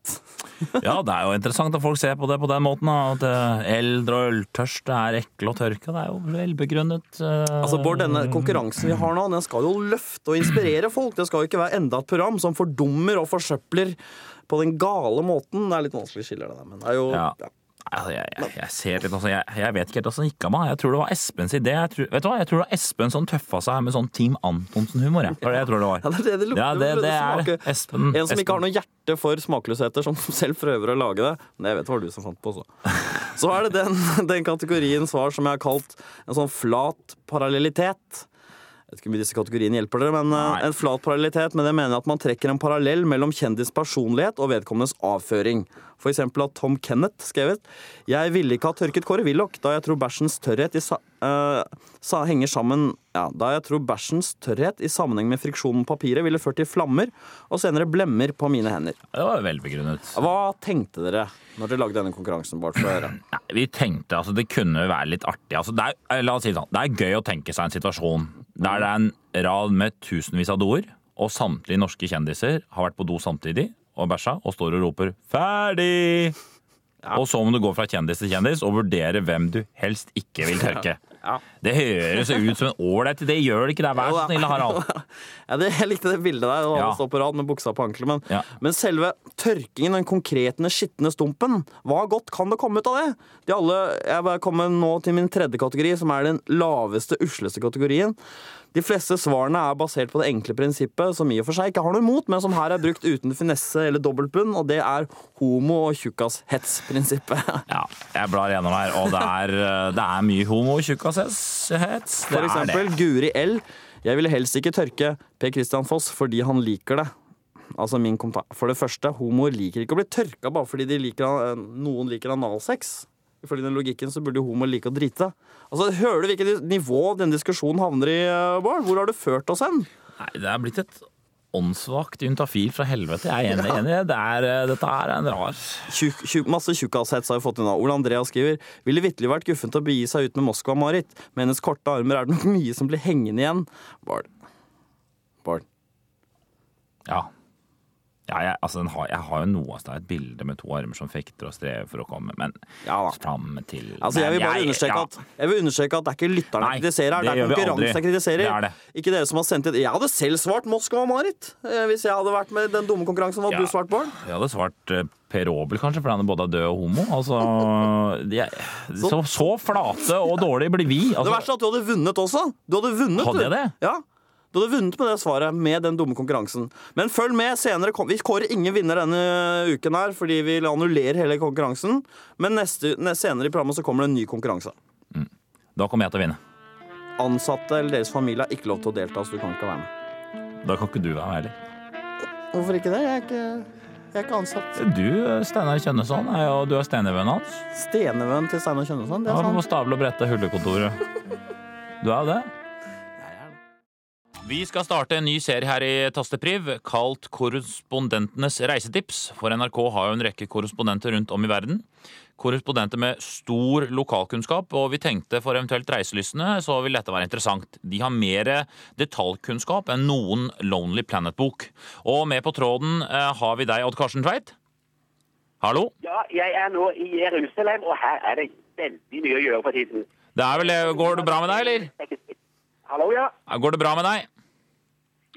B: Ja, det er jo interessant at folk ser på det på den måten. da, At eh, eldre og øltørste er ekle og tørke. Det er jo velbegrunnet. eh,
A: Altså, Bård, denne konkurransen vi har nå, den skal jo løfte og inspirere folk. Det skal jo ikke være enda et program som fordummer og forsøpler på den gale måten. Det er litt vanskelig skiller det der, men det er jo
B: Ja.
A: ja.
B: Altså, jeg, jeg, jeg ser litt, altså, jeg, jeg vet ikke helt hvordan det gikk av meg. Jeg tror det var Espens idé. Jeg tror, vet du hva? Jeg tror det var Espen som tøffa seg med sånn Team Antonsen-humor. Jeg. Det var det jeg tror det
A: Ja,
B: var.
A: det er det det lukter.
B: Ja, det,
A: det
B: det er
A: smaker.
B: Espen.
A: En som ikke har noe hjerte for smakløsheter, som selv prøver å lage det. Men jeg vet det var du som fant på, så. Så er det den, den kategorien svar som jeg har kalt en sånn flat parallellitet. Jeg vet ikke hvor mye disse kategoriene hjelper dere, men eh,
B: Nei.
A: en flat parallellitet, men det mener jeg at man trekker en parallell mellom kjendis personlighet og vedkommendes avføring. For eksempel at Tom Kenneth skrevet Jeg ville ikke ha tørket Kåre Willoch, da jeg tror bæsjens tørrhet i sa, eh, sa, henger sammen ja, Da jeg tror bæsjens tørrhet i sammenheng med friksjonen med papiret ville ført til flammer og senere blemmer på mine hender.
B: Det var velbegrunnet.
A: Hva tenkte dere når dere lagde denne konkurransen? Bare for å høre?
B: Nei, vi tenkte altså det kunne være litt artig. Altså, det, er, eh, la oss si det, sånn, det er gøy å tenke seg en situasjon der det er en rad med tusenvis av doer, og samtlige norske kjendiser har vært på do samtidig og bæsja og står og roper 'ferdig'! Og så må du gå fra kjendis til kjendis og vurdere hvem du helst ikke vil tørke.
A: Ja.
B: Det høres jo ut som en ålreit idé, gjør det ikke det? Vær så
A: Jo da.
B: snill, Harald.
A: Ja, det, jeg likte det bildet der, og alle
B: Ja.
A: står på rad med buksa på ankelen. Men,
B: Ja.
A: men selve tørkingen, den konkretne skitne stumpen, hva godt kan det komme ut av det? De alle, jeg bare kommer nå til min tredje kategori, som er den laveste, usleste kategorien. De fleste svarene er basert på det enkle prinsippet, som i og for seg ikke har noe imot, men som her er brukt uten finesse eller dobbeltbunn, og det er homo- og tjukkashets-prinsippet.
B: Ja, jeg blar gjennom her, og det er, eh, det er mye homo og tjukkasshets.
A: For eksempel Guri L. Jeg ville helst ikke tørke Per Christian Foss fordi han liker det. Altså min kompa For det første, homoer liker ikke å bli tørka bare fordi de liker, eh, noen liker analsex. Ifølge den logikken så burde jo homoer like å drite. Altså, Hører du hvilket nivå denne diskusjonen havner i, eh, Bård? Hvor har du ført oss hen?
B: Nei, det er blitt et åndssvakt juntafil fra helvete. Jeg er enig. enig. Det er, eh, dette er en rar
A: Tjukk- tjukk- masse tjukkashets har vi fått unna. Ole Andrea skriver Ville vitterlig vært guffent å begi seg ut med Moskva-Marit. Med hennes korte armer er det nok mye som blir hengende igjen. Bård. Bård.
B: Ja. ja jeg, altså, den har, jeg har jo noe av det er et bilde med to armer som fekter og strever for å komme, men
A: Ja da.
B: fram til
A: Altså, jeg vil bare understreke,
B: ja.
A: at, jeg vil understreke at det er ikke lytterne
B: Nei,
A: jeg kritiserer her, det
B: det
A: er
B: gjør vi aldri.
A: konkurransen jeg kritiserer.
B: Det er det.
A: Ikke dere som har sendt inn Jeg hadde selv svart Moskva-Marit eh, hvis jeg hadde vært med i den dumme konkurransen.
B: Ja.
A: Hadde du svart, Bård?
B: Jeg hadde svart eh, Per Obel, kanskje, fordi han er både død og homo. Altså, jeg, så, så flate og dårlige blir vi.
A: Det
B: Altså,
A: verste er at du hadde vunnet også. Du hadde vunnet.
B: Hadde
A: du.
B: jeg det?
A: Ja. Du hadde vunnet med det svaret, med den dumme konkurransen. Men følg med senere. kom- Vi kårer ingen vinner denne uken her, fordi vi annullerer hele konkurransen. Men neste, ne- senere i programmet så kommer det en ny konkurranse.
B: da kommer jeg til å vinne.
A: Ansatte eller deres familie har ikke lov til å delta, så du kan ikke være med.
B: Da kan ikke du være med heller.
A: Hvorfor ikke det? Jeg er ikke, jeg er ikke ansatt.
B: Du, eh, Steinar Kjønneson, er jo, du er steinervennen hans.
A: Stenevenn til Steinar Kjønnesson. Det
B: Ja,
A: er
B: på
A: sant.
B: Stavle og Brette Hullekontoret. Du er jo det. Vi skal starte en ny serie her i Tastepriv kalt Korrespondentenes reisetips. For NRK har jo en rekke korrespondenter rundt om i verden. Korrespondenter med stor lokalkunnskap, og vi tenkte for eventuelt reiselystne så vil dette være interessant. De har mer detaljkunnskap enn noen Lonely Planet-bok. Og med på tråden eh, har vi deg, Odd Karsten Tveit. Hallo?
D: Ja, jeg er nå i Jerusalem, og her er det veldig mye å gjøre for tiden.
B: Det er vel, går det bra med deg, eller?
D: Hallo, ja.
B: Går det bra med deg?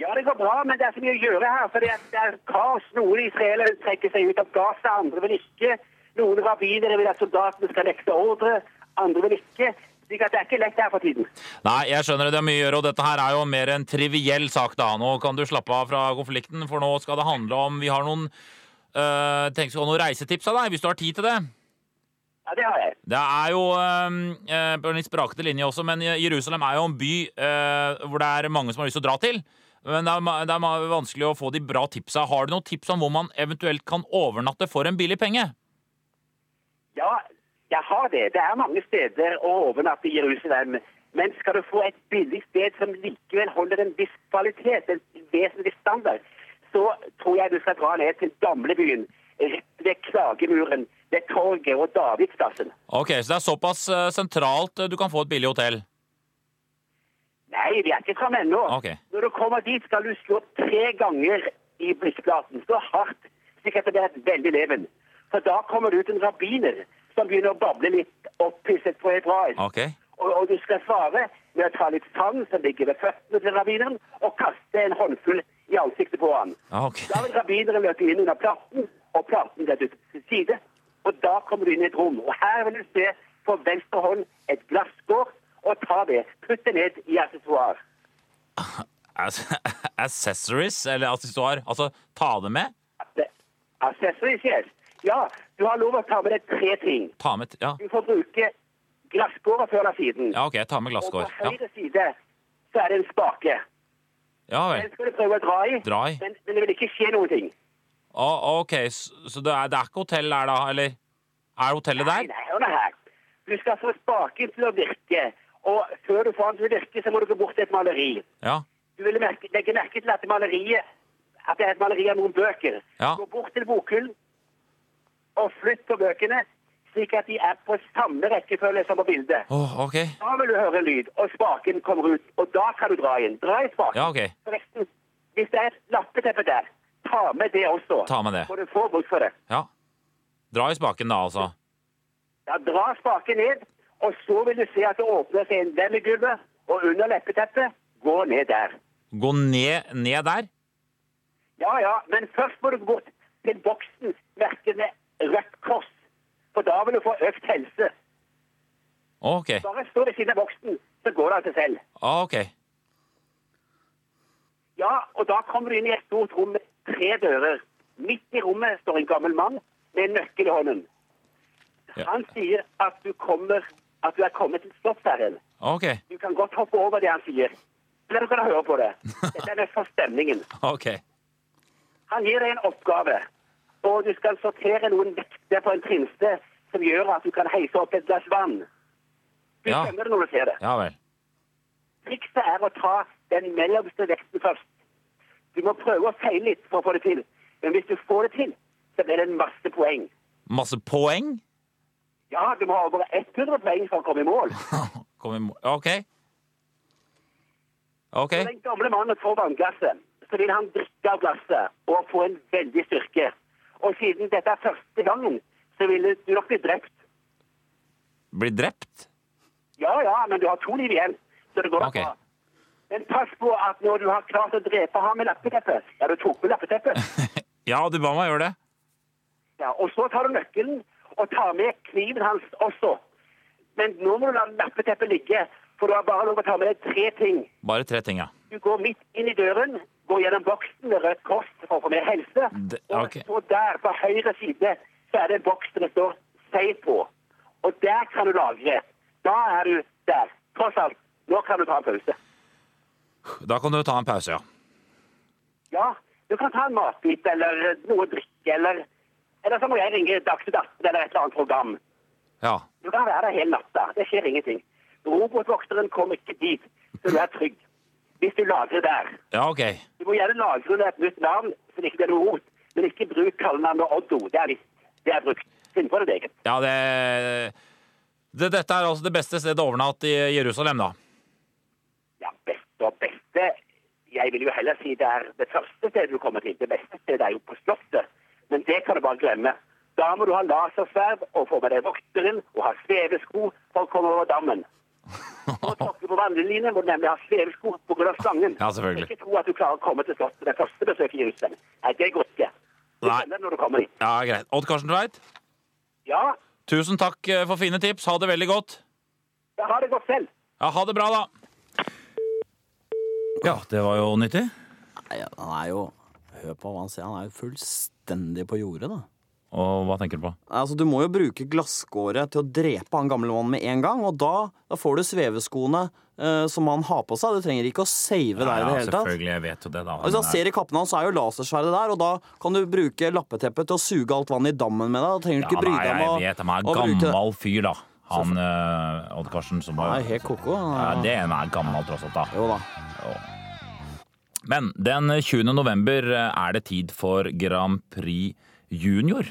D: Ja, det går bra, men det er så mye å gjøre her. For det er, det er kaos. Noen israelere trekker seg ut av Gaza, andre vil ikke. Noen rabbinere vil at soldatene skal nekte ordre, andre vil ikke. Slik at det er ikke lett her for tiden.
B: Nei, jeg skjønner det, det er mye å gjøre, og dette her er jo mer en triviell sak, da. Nå kan du slappe av fra konflikten, for nå skal det handle om Vi har noen øh, Tenk skal noen reisetips av deg, hvis du har tid til det.
D: Ja, det har jeg.
B: Det er jo øh, øh, på en litt sprakete linje også, men Jerusalem er jo en by øh, hvor det er mange som har lyst til å dra til. Men det er, ma- det er ma- vanskelig å få de bra tipsa. Har du noen tips om hvor man eventuelt kan overnatte for en billig penge?
D: Ja, jeg har det. Det er mange steder å overnatte i Jerusalem. Men skal du få et billig sted som likevel holder en viss kvalitet, en vesentlig standard, så tror jeg du skal dra ned til gamlebyen, rett ved Klagemuren, ved torget og Davidsplassen.
B: Ok, så det er såpass øh, sentralt øh, du kan få et billig hotell.
D: Nei, vi er ikke framme ennå.
B: Ok.
D: Når du kommer dit, skal du slå tre ganger i blikkplaten. Så hardt, slik at det blir et veldig leven. For da kommer det ut en rabbiner som begynner å bable litt opphisset på hebraisk.
B: Ok.
D: Og, og du skal svare med å ta litt sand som ligger ved føttene til rabbineren, og kaste en håndfull i ansiktet på han.
B: Ja, ok.
D: Da vil rabbineren løpe inn under platen, og platen blir dyttet til side. Og da kommer du inn i et rom. Og her vil du se på venstre hånd et glasskår, og ta det. Putt det ned i accessoire.
B: Ass- accessories, eller accessoar, altså ta det med.
D: Det- Accessories, yes. Ja, du har lov å ta med deg tre ting.
B: Ta med, ja.
D: Du får bruke glasskåret før eller siden.
B: ja, ok, jeg tar med
D: og på
B: glasskår. Ja.
D: høyre side så er det en spake.
B: ja vel.
D: Den skal du prøve å dra i,
B: Dra i.
D: Men, men det vil ikke skje noen ting.
B: Å, ok, så, så det, er, det er ikke hotell der da, eller? Er hotellet
D: Nei,
B: der?
D: nei, hør nå her. Du skal få spaken til å virke, og før du får den til å virke, så må du gå bort til et maleri.
B: Ja.
D: Du vil merke, legge merke til at maleriet at det er et maleri av noen bøker.
B: Ja.
D: Gå bort til bokhyllen og flytt på bøkene, slik at de er på samme rekkefølge som på bildet.
B: Å, ok.
D: Da vil du høre lyd, og spaken kommer ut, og da kan du dra inn. Dra i spaken.
B: Ja, ok.
D: Forresten, hvis det er et lappeteppe der, ta med det også.
B: Ta med det.
D: For du får bruk for det.
B: Ja. Dra i spaken da, altså.
D: Ja, dra spaken ned, Og så vil du se at det åpner seg en venn i gulvet, og under leppeteppet går ned der.
B: Gå ned, ned der.
D: Ja, ja, men først må du gå bort til boksen merket med rødt kors. For da vil du få økt helse.
B: Ok.
D: Bare stå ved siden av boksen, så går det av seg selv.
B: ok.
D: Ja, og da kommer du inn i et stort rom med tre dører. Midt i rommet står en gammel mann med en nøkkel i hånden.
B: Ja.
D: Han sier at du, kommer, at du er kommet til Slottsherren.
B: Ok.
D: Du kan godt hoppe over det han sier. Eller du kan høre på det. Dette er for stemningen.
B: Ok.
D: Han gir deg en oppgave, og du skal sortere noen vekter på en trinste som gjør at du kan heise opp et glass vann. Du
B: Ja.
D: skjønner det når du ser det.
B: Ja vel.
D: Trikset er å ta den mellomste vekten først. Du må prøve å feile litt for å få det til, men hvis du får det til, så blir det en masse poeng.
B: Masse poeng?
D: Ja, du må ha over 100 poeng for å komme i mål.
B: Kom i mål. Ok. Ok.
D: Når den gamle mannen får vannglasset, så vil han drikke av glasset og få en veldig styrke. Og siden dette er første gangen, så vil du nok bli drept.
B: Blir drept?
D: Ja, ja, men du har to liv igjen, så det går
B: Ok.
D: bra. Men pass på at når du har klart å drepe ham med lappeteppet Ja, du tok med lappeteppet.
B: Ja, du ba meg gjøre det.
D: Ja, og så tar du nøkkelen og tar med kniven hans også. Men nå må du la lappeteppet ligge, for du har bare lov å ta med deg tre ting.
B: Bare tre ting, ja.
D: Du går midt inn i døren, går gjennom boksen med rødt kors for å få mer helse.
B: Det- ok.
D: Og så der, på høyre side, så er det en boks som det står 'Seig' på. Og der kan du lagre. Da er du der. Tross alt, nå kan du ta en pause.
B: Da kan du ta en pause, ja.
D: Ja, du kan ta en matbit eller noe å drikke eller Eller så må jeg ringe Dagsnytt 18 eller et eller annet program.
B: Ja.
D: Du kan være der hele natta. Det skjer ingenting. Robotvokteren kommer ikke dit, så du er trygg. Hvis du lagrer der.
B: Ja, ok.
D: Du må gjerne lagre under et nytt navn, så det ikke blir noe rot. Men ikke bruk kallenavnet Oddo. Det er visst. Det er brukt. Finn på det eget.
B: Ja, det, det Dette er altså det beste stedet å overnatte i Jerusalem, da.
D: Ja, beste og beste Jeg vil jo heller si det er det første stedet du kommer til. Det beste stedet er jo på Slottet. Men det kan du bare glemme. Da må du ha lasersverd og få med deg vokteren og ha svevesko for å komme over dammen. Når du tråkker på vannlinjen, må du nemlig ha svevesko pga. slangen.
B: Ja, selvfølgelig.
D: Ikke tro at du klarer å komme til Slottet det første besøket i Jerusalem. Nei, det går ikke. Du
B: Nei.
D: skjønner når du kommer dit.
B: Ja, greit. Odd Karsten Tveit,
D: Ja,
B: tusen takk eh, for fine tips. Ha det veldig godt.
D: jeg har det godt selv.
B: Ja, ha det bra, da. Ja, det var jo nyttig.
A: Nei, han er jo Hør på hva han sier. Han er jo fullstendig på jordet, da.
B: Og hva tenker du på?
A: Altså, Du må jo bruke glasskåret til å drepe han gamle mannen med en gang, og da, da får du sveveskoene eh, som han har på seg. Du trenger ikke å save deg i det hele tatt.
B: jeg vet jo det, da.
A: Hvis han ser i kappen hans, så er jo lasersverdet der, og da kan du bruke lappeteppet til å suge alt vannet i dammen med deg. Da trenger du ikke bry deg om å,
B: jeg vet, han er
A: å
B: en
A: bruke det.
B: gammel fyr, da. Han eh, Odd Karsten som
A: Han
B: var
A: er helt koko.
B: ja,
A: han er-
B: Det ene er gammel, tross alt, da.
A: Jo da.
B: Men den 20. november eh, er det tid for Grand Prix Junior.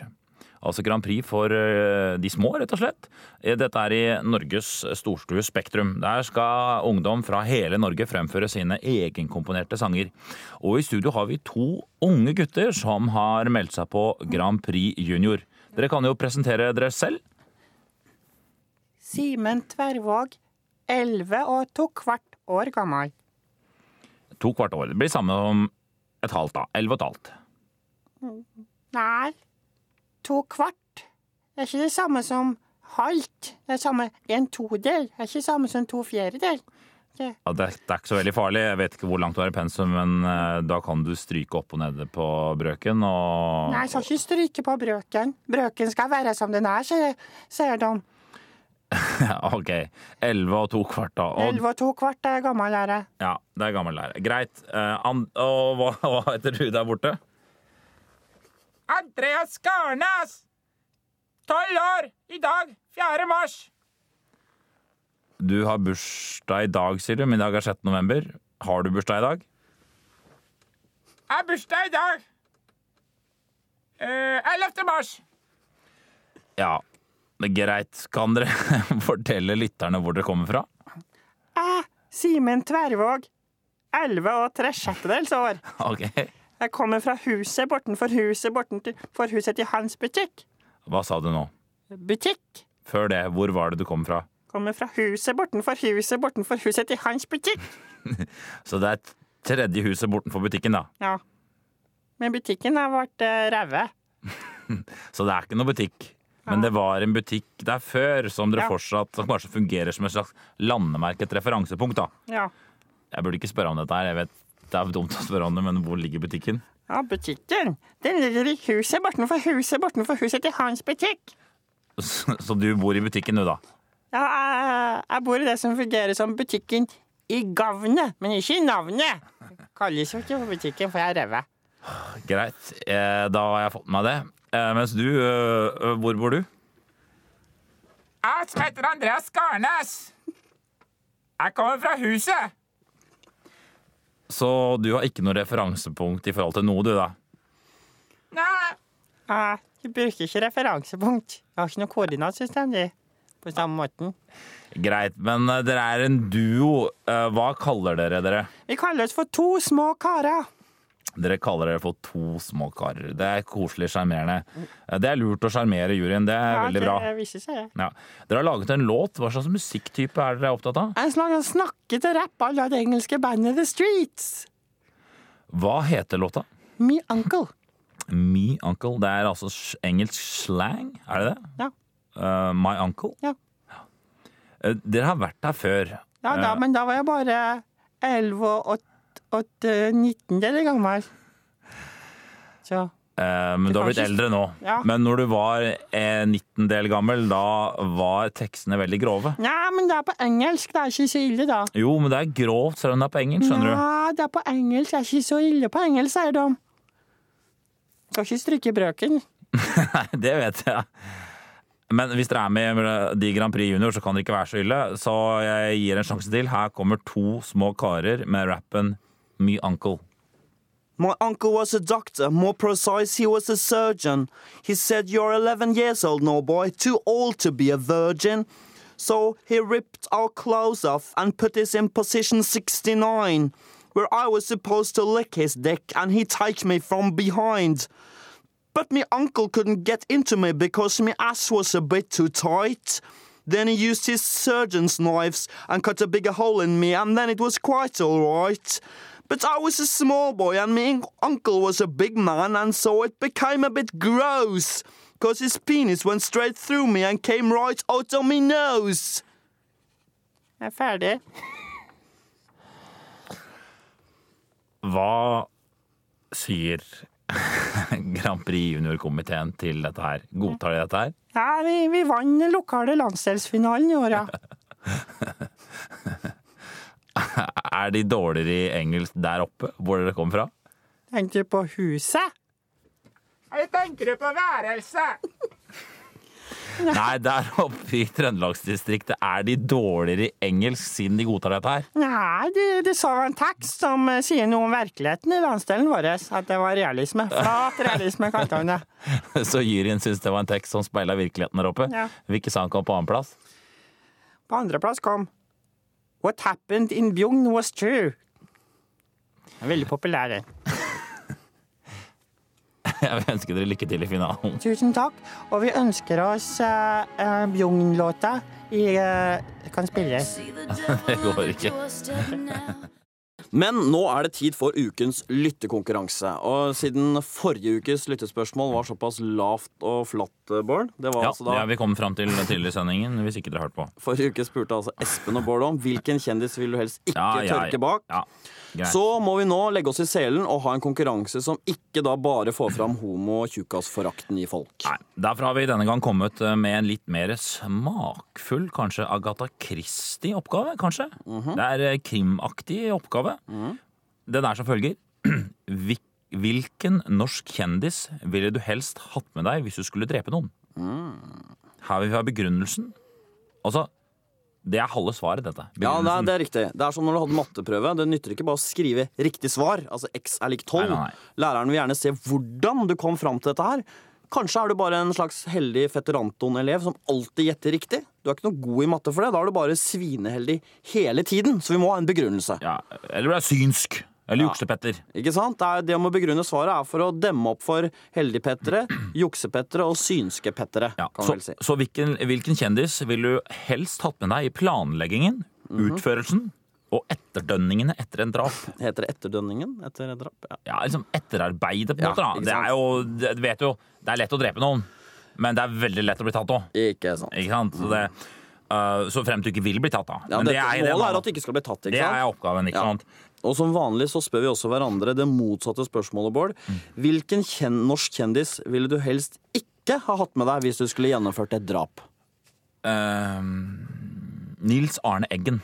B: Altså Grand Prix for eh, de små, rett og slett. Eh, Dette er i Norges storstue Spektrum. Der skal ungdom fra hele Norge fremføre sine egenkomponerte sanger. Og i studio har vi to unge gutter som har meldt seg på Grand Prix Junior. Dere kan jo presentere dere selv.
E: Simen Tverrvåg, 11 og to kvart år gammel.
B: To kvart år. Det blir samme om et halvt, da. Elleve og et halvt.
E: Nei, to kvart. Det er ikke det samme som halvt. Det er samme en todel. Det er ikke det samme som to fjerdedel.
B: Ja, det, er, det er ikke så veldig farlig. Jeg vet ikke hvor langt du er i pensum, men eh, da kan du stryke opp og nede på brøken og
E: Nei, jeg skal ikke stryke på brøken. Brøken skal være som den er, sier, sier de.
B: OK. Elleve og to kvart, da. Og,
E: 11 og to kvart er gammel, er jeg.
B: ja, det er gammel lærer. Greit. Eh, and, og hva, hva heter du der borte?
F: Andreas Garnes! Tolv år! I dag, 4. mars.
B: Du har bursdag i dag, sier du. Min dag er 6. november. Har du bursdag i dag?
F: Jeg har bursdag i dag. Eh, 11. mars.
B: Ja. Det er Greit. Kan dere fortelle lytterne hvor dere kommer fra?
E: Jeg, Simen Tverrvåg, 11 og tre sjettedels år.
B: OK.
E: Jeg kommer fra huset bortenfor huset bortenfor huset til hans butikk.
B: Hva sa du nå?
E: Butikk.
B: Før det, hvor var det du kom fra?
E: Kommer fra huset bortenfor huset bortenfor huset til hans butikk.
B: Så det er tredje huset bortenfor butikken, da.
E: Ja. Men butikken har vært uh, ræve.
B: Så det er ikke noe butikk. Men det var en butikk der før som dere
E: Ja.
B: fortsatt som kanskje fungerer som et slags landemerket referansepunkt. da.
E: Ja.
B: Jeg burde ikke spørre om dette her, jeg vet det er dumt å spørre om det, men hvor ligger butikken?
E: ja, butikken. Den ligger i huset bortenfor huset bortenfor huset til hans butikk.
B: Så så du bor i butikken nå, da?
E: Ja, jeg, jeg bor i det som fungerer som butikken i gavnet, men ikke i navnet. Kalles jo ikke for butikken, for jeg er ræve.
B: Greit, eh, da har jeg fått med meg det. Eh, Mens du, eh, hvor bor du?
F: Jeg som heter Andreas Garnes. Jeg kommer fra huset.
B: Så du har ikke noe referansepunkt i forhold til noe, du, da?
F: Nei,
E: Jeg bruker ikke referansepunkt. Jeg har ikke noe koordinatsystem, de. På samme måten.
B: Greit, men eh, dere er en duo. Eh, Hva kaller dere dere?
E: Vi kaller oss for to små karer.
B: Dere kaller dere for to små karer. Det er koselig sjarmerende. Eh, Det er lurt å sjarmere juryen. Det er veldig bra.
E: Det viser seg.
B: Ja. Dere har laget en låt. Hva slags musikktype er dere opptatt av?
E: En slags snakkete rapp à la det engelske bandet The Streets.
B: Hva heter låta?
E: Me uncle.
B: Me Uncle. Det er altså s- engelsk slang, er det det?
E: Ja.
B: Eh, my Uncle?
E: Ja.
B: Eh, dere har vært her før.
E: Ja da,
B: Eh,
E: men da var jeg bare 11 og åt- åt, eh, 19 deler gammel. Så
B: eh, men du har blitt
E: kanskje-
B: eldre nå.
E: Ja.
B: Men når du var eh, 19 del gammel, da var tekstene veldig grove.
E: Nei, men det er på engelsk. Det er ikke så ille, da.
B: Jo, men det er grovt, selv om det er på engelsk, skjønner du.
E: Ja, det er på engelsk. Det er ikke så ille på engelsk, sier de. Skal ikke stryke brøken.
B: Det vet jeg. Men hvis dere er med i Grand Prix Junior, så kan det ikke være så ille. Så jeg gir en sjanse til. Her kommer to små karer med rappen My Uncle.
A: My uncle was a doctor, more precise, he was a surgeon. He said, You're 11 years old, no boy, too old to be a virgin. So he ripped our clothes off and put us in position 69, where I was supposed to lick his dick and he take me from behind. But me uncle couldn't get into me because me ass was a bit too tight. Then he used his surgeon's knives and cut a bigger hole in me, and then it was quite alright. But I was a small boy, and me uncle was a big man, and so it became a bit gross. Cause his penis went straight through me and came right out of me nose.
E: Jeg er ferdig.
B: Hva sier Grand Prix Junior-komiteen til dette her? Godtar de dette her?
E: Ja, vi, vi vant den lokale landsdelsfinalen i år, ja.
B: Er de dårligere i engelsk der oppe, hvor dere kommer fra?
E: Tenkte du på huset?
F: eller tenker du på værelset?
B: Nei, der oppe i Trøndelagsdistriktet er de dårligere i engelsk siden de godtar dette her.
E: Nei, du, du så en tekst som eh, sier noe om virkeligheten i landsdelen vår. At det var realisme. Flat realisme, kalte han det.
B: Så juryen syns det var en tekst som speila virkeligheten der oppe.
E: Ja.
B: Hvilken sang kom på annenplass?
E: På andreplass kom What happened in Bjugn was true. Den er Veldig populær, den.
B: Jeg vil ønske dere lykke til i finalen.
E: Tusen takk. Og vi ønsker oss eh, eh, Bjugn-låta i eh, Kan spilles.
B: Det går ikke.
A: Men nå er det tid for ukens lyttekonkurranse. Og siden forrige ukes lyttespørsmål var såpass lavt og flatt, eh, Bård Det var
B: Ja,
A: altså da
B: ja, vi kom fram til tidligere i sendingen, hvis ikke dere har hørt på.
A: Forrige uke spurte altså Espen og Bård om hvilken kjendis vil du helst ikke
B: Ja, ja,
A: tørke bak.
B: Ja, greit.
A: Så må vi nå legge oss i selen og ha en konkurranse som ikke da bare får fram homo- og tjukkasforakten i folk.
B: Nei, Derfor har vi denne gang kommet eh, med en litt mer smakfull, kanskje Agatha Christie-oppgave. kanskje? Det er eh, krimaktig oppgave. Den er som følger. Hvil- Hvilken norsk kjendis ville du helst hatt med deg hvis du skulle drepe noen? Her vil vi ha begrunnelsen. Altså, det er halve svaret, dette.
A: Ja, det er,
B: Begrunnelsen.
A: det er riktig. Det er som når du hadde matteprøve. Det nytter ikke bare å skrive riktig svar. Altså X er lik 12.
B: Nei, nei, nei.
A: Læreren vil gjerne se hvordan du kom fram til dette her. Kanskje er du bare en slags heldig fetteranton-elev som alltid gjetter riktig. Du er ikke noe god i matte for det. Da er du bare svineheldig hele tiden. Så vi må ha en begrunnelse.
B: ja, eller du er synsk. Eller juksepetter.
A: Ikke sant? Det, er, det om å begrunne svaret er for å demme opp for heldigpettere, juksepettere og synskepettere.
B: Ja.
A: kan man
B: Så,
A: vel si.
B: så hvilken, hvilken kjendis vil du helst hatt med deg i planleggingen,
A: Mhm.
B: utførelsen og etterdønningene etter en drap?
A: Heter det etterdønningen etter et drap? Ja.
B: Ja, liksom etterarbeidet, på en
A: Ja,
B: måte. Da.
A: ikke
B: Det
A: sant.
B: er jo, det, du vet jo, det er lett å drepe noen, men det er veldig lett å bli tatt òg.
A: Ikke sant.
B: Ikke sant? Så, det, øh, så frem til du ikke vil bli tatt, da.
A: Mhm. Ja,
B: Men
A: dette
B: er-
A: målet
B: er-
A: er at du ikke skal bli tatt.
B: det
A: ikke sant?
B: er oppgaven, ikke
A: Ja.
B: sant?
A: Og som vanlig så spør vi også hverandre det motsatte spørsmålet, Bård. Hvilken kjen norsk kjendis ville du helst ikke ha hatt med deg hvis du skulle gjennomført et drap?
B: Ehm, Eh, Nils Arne Eggen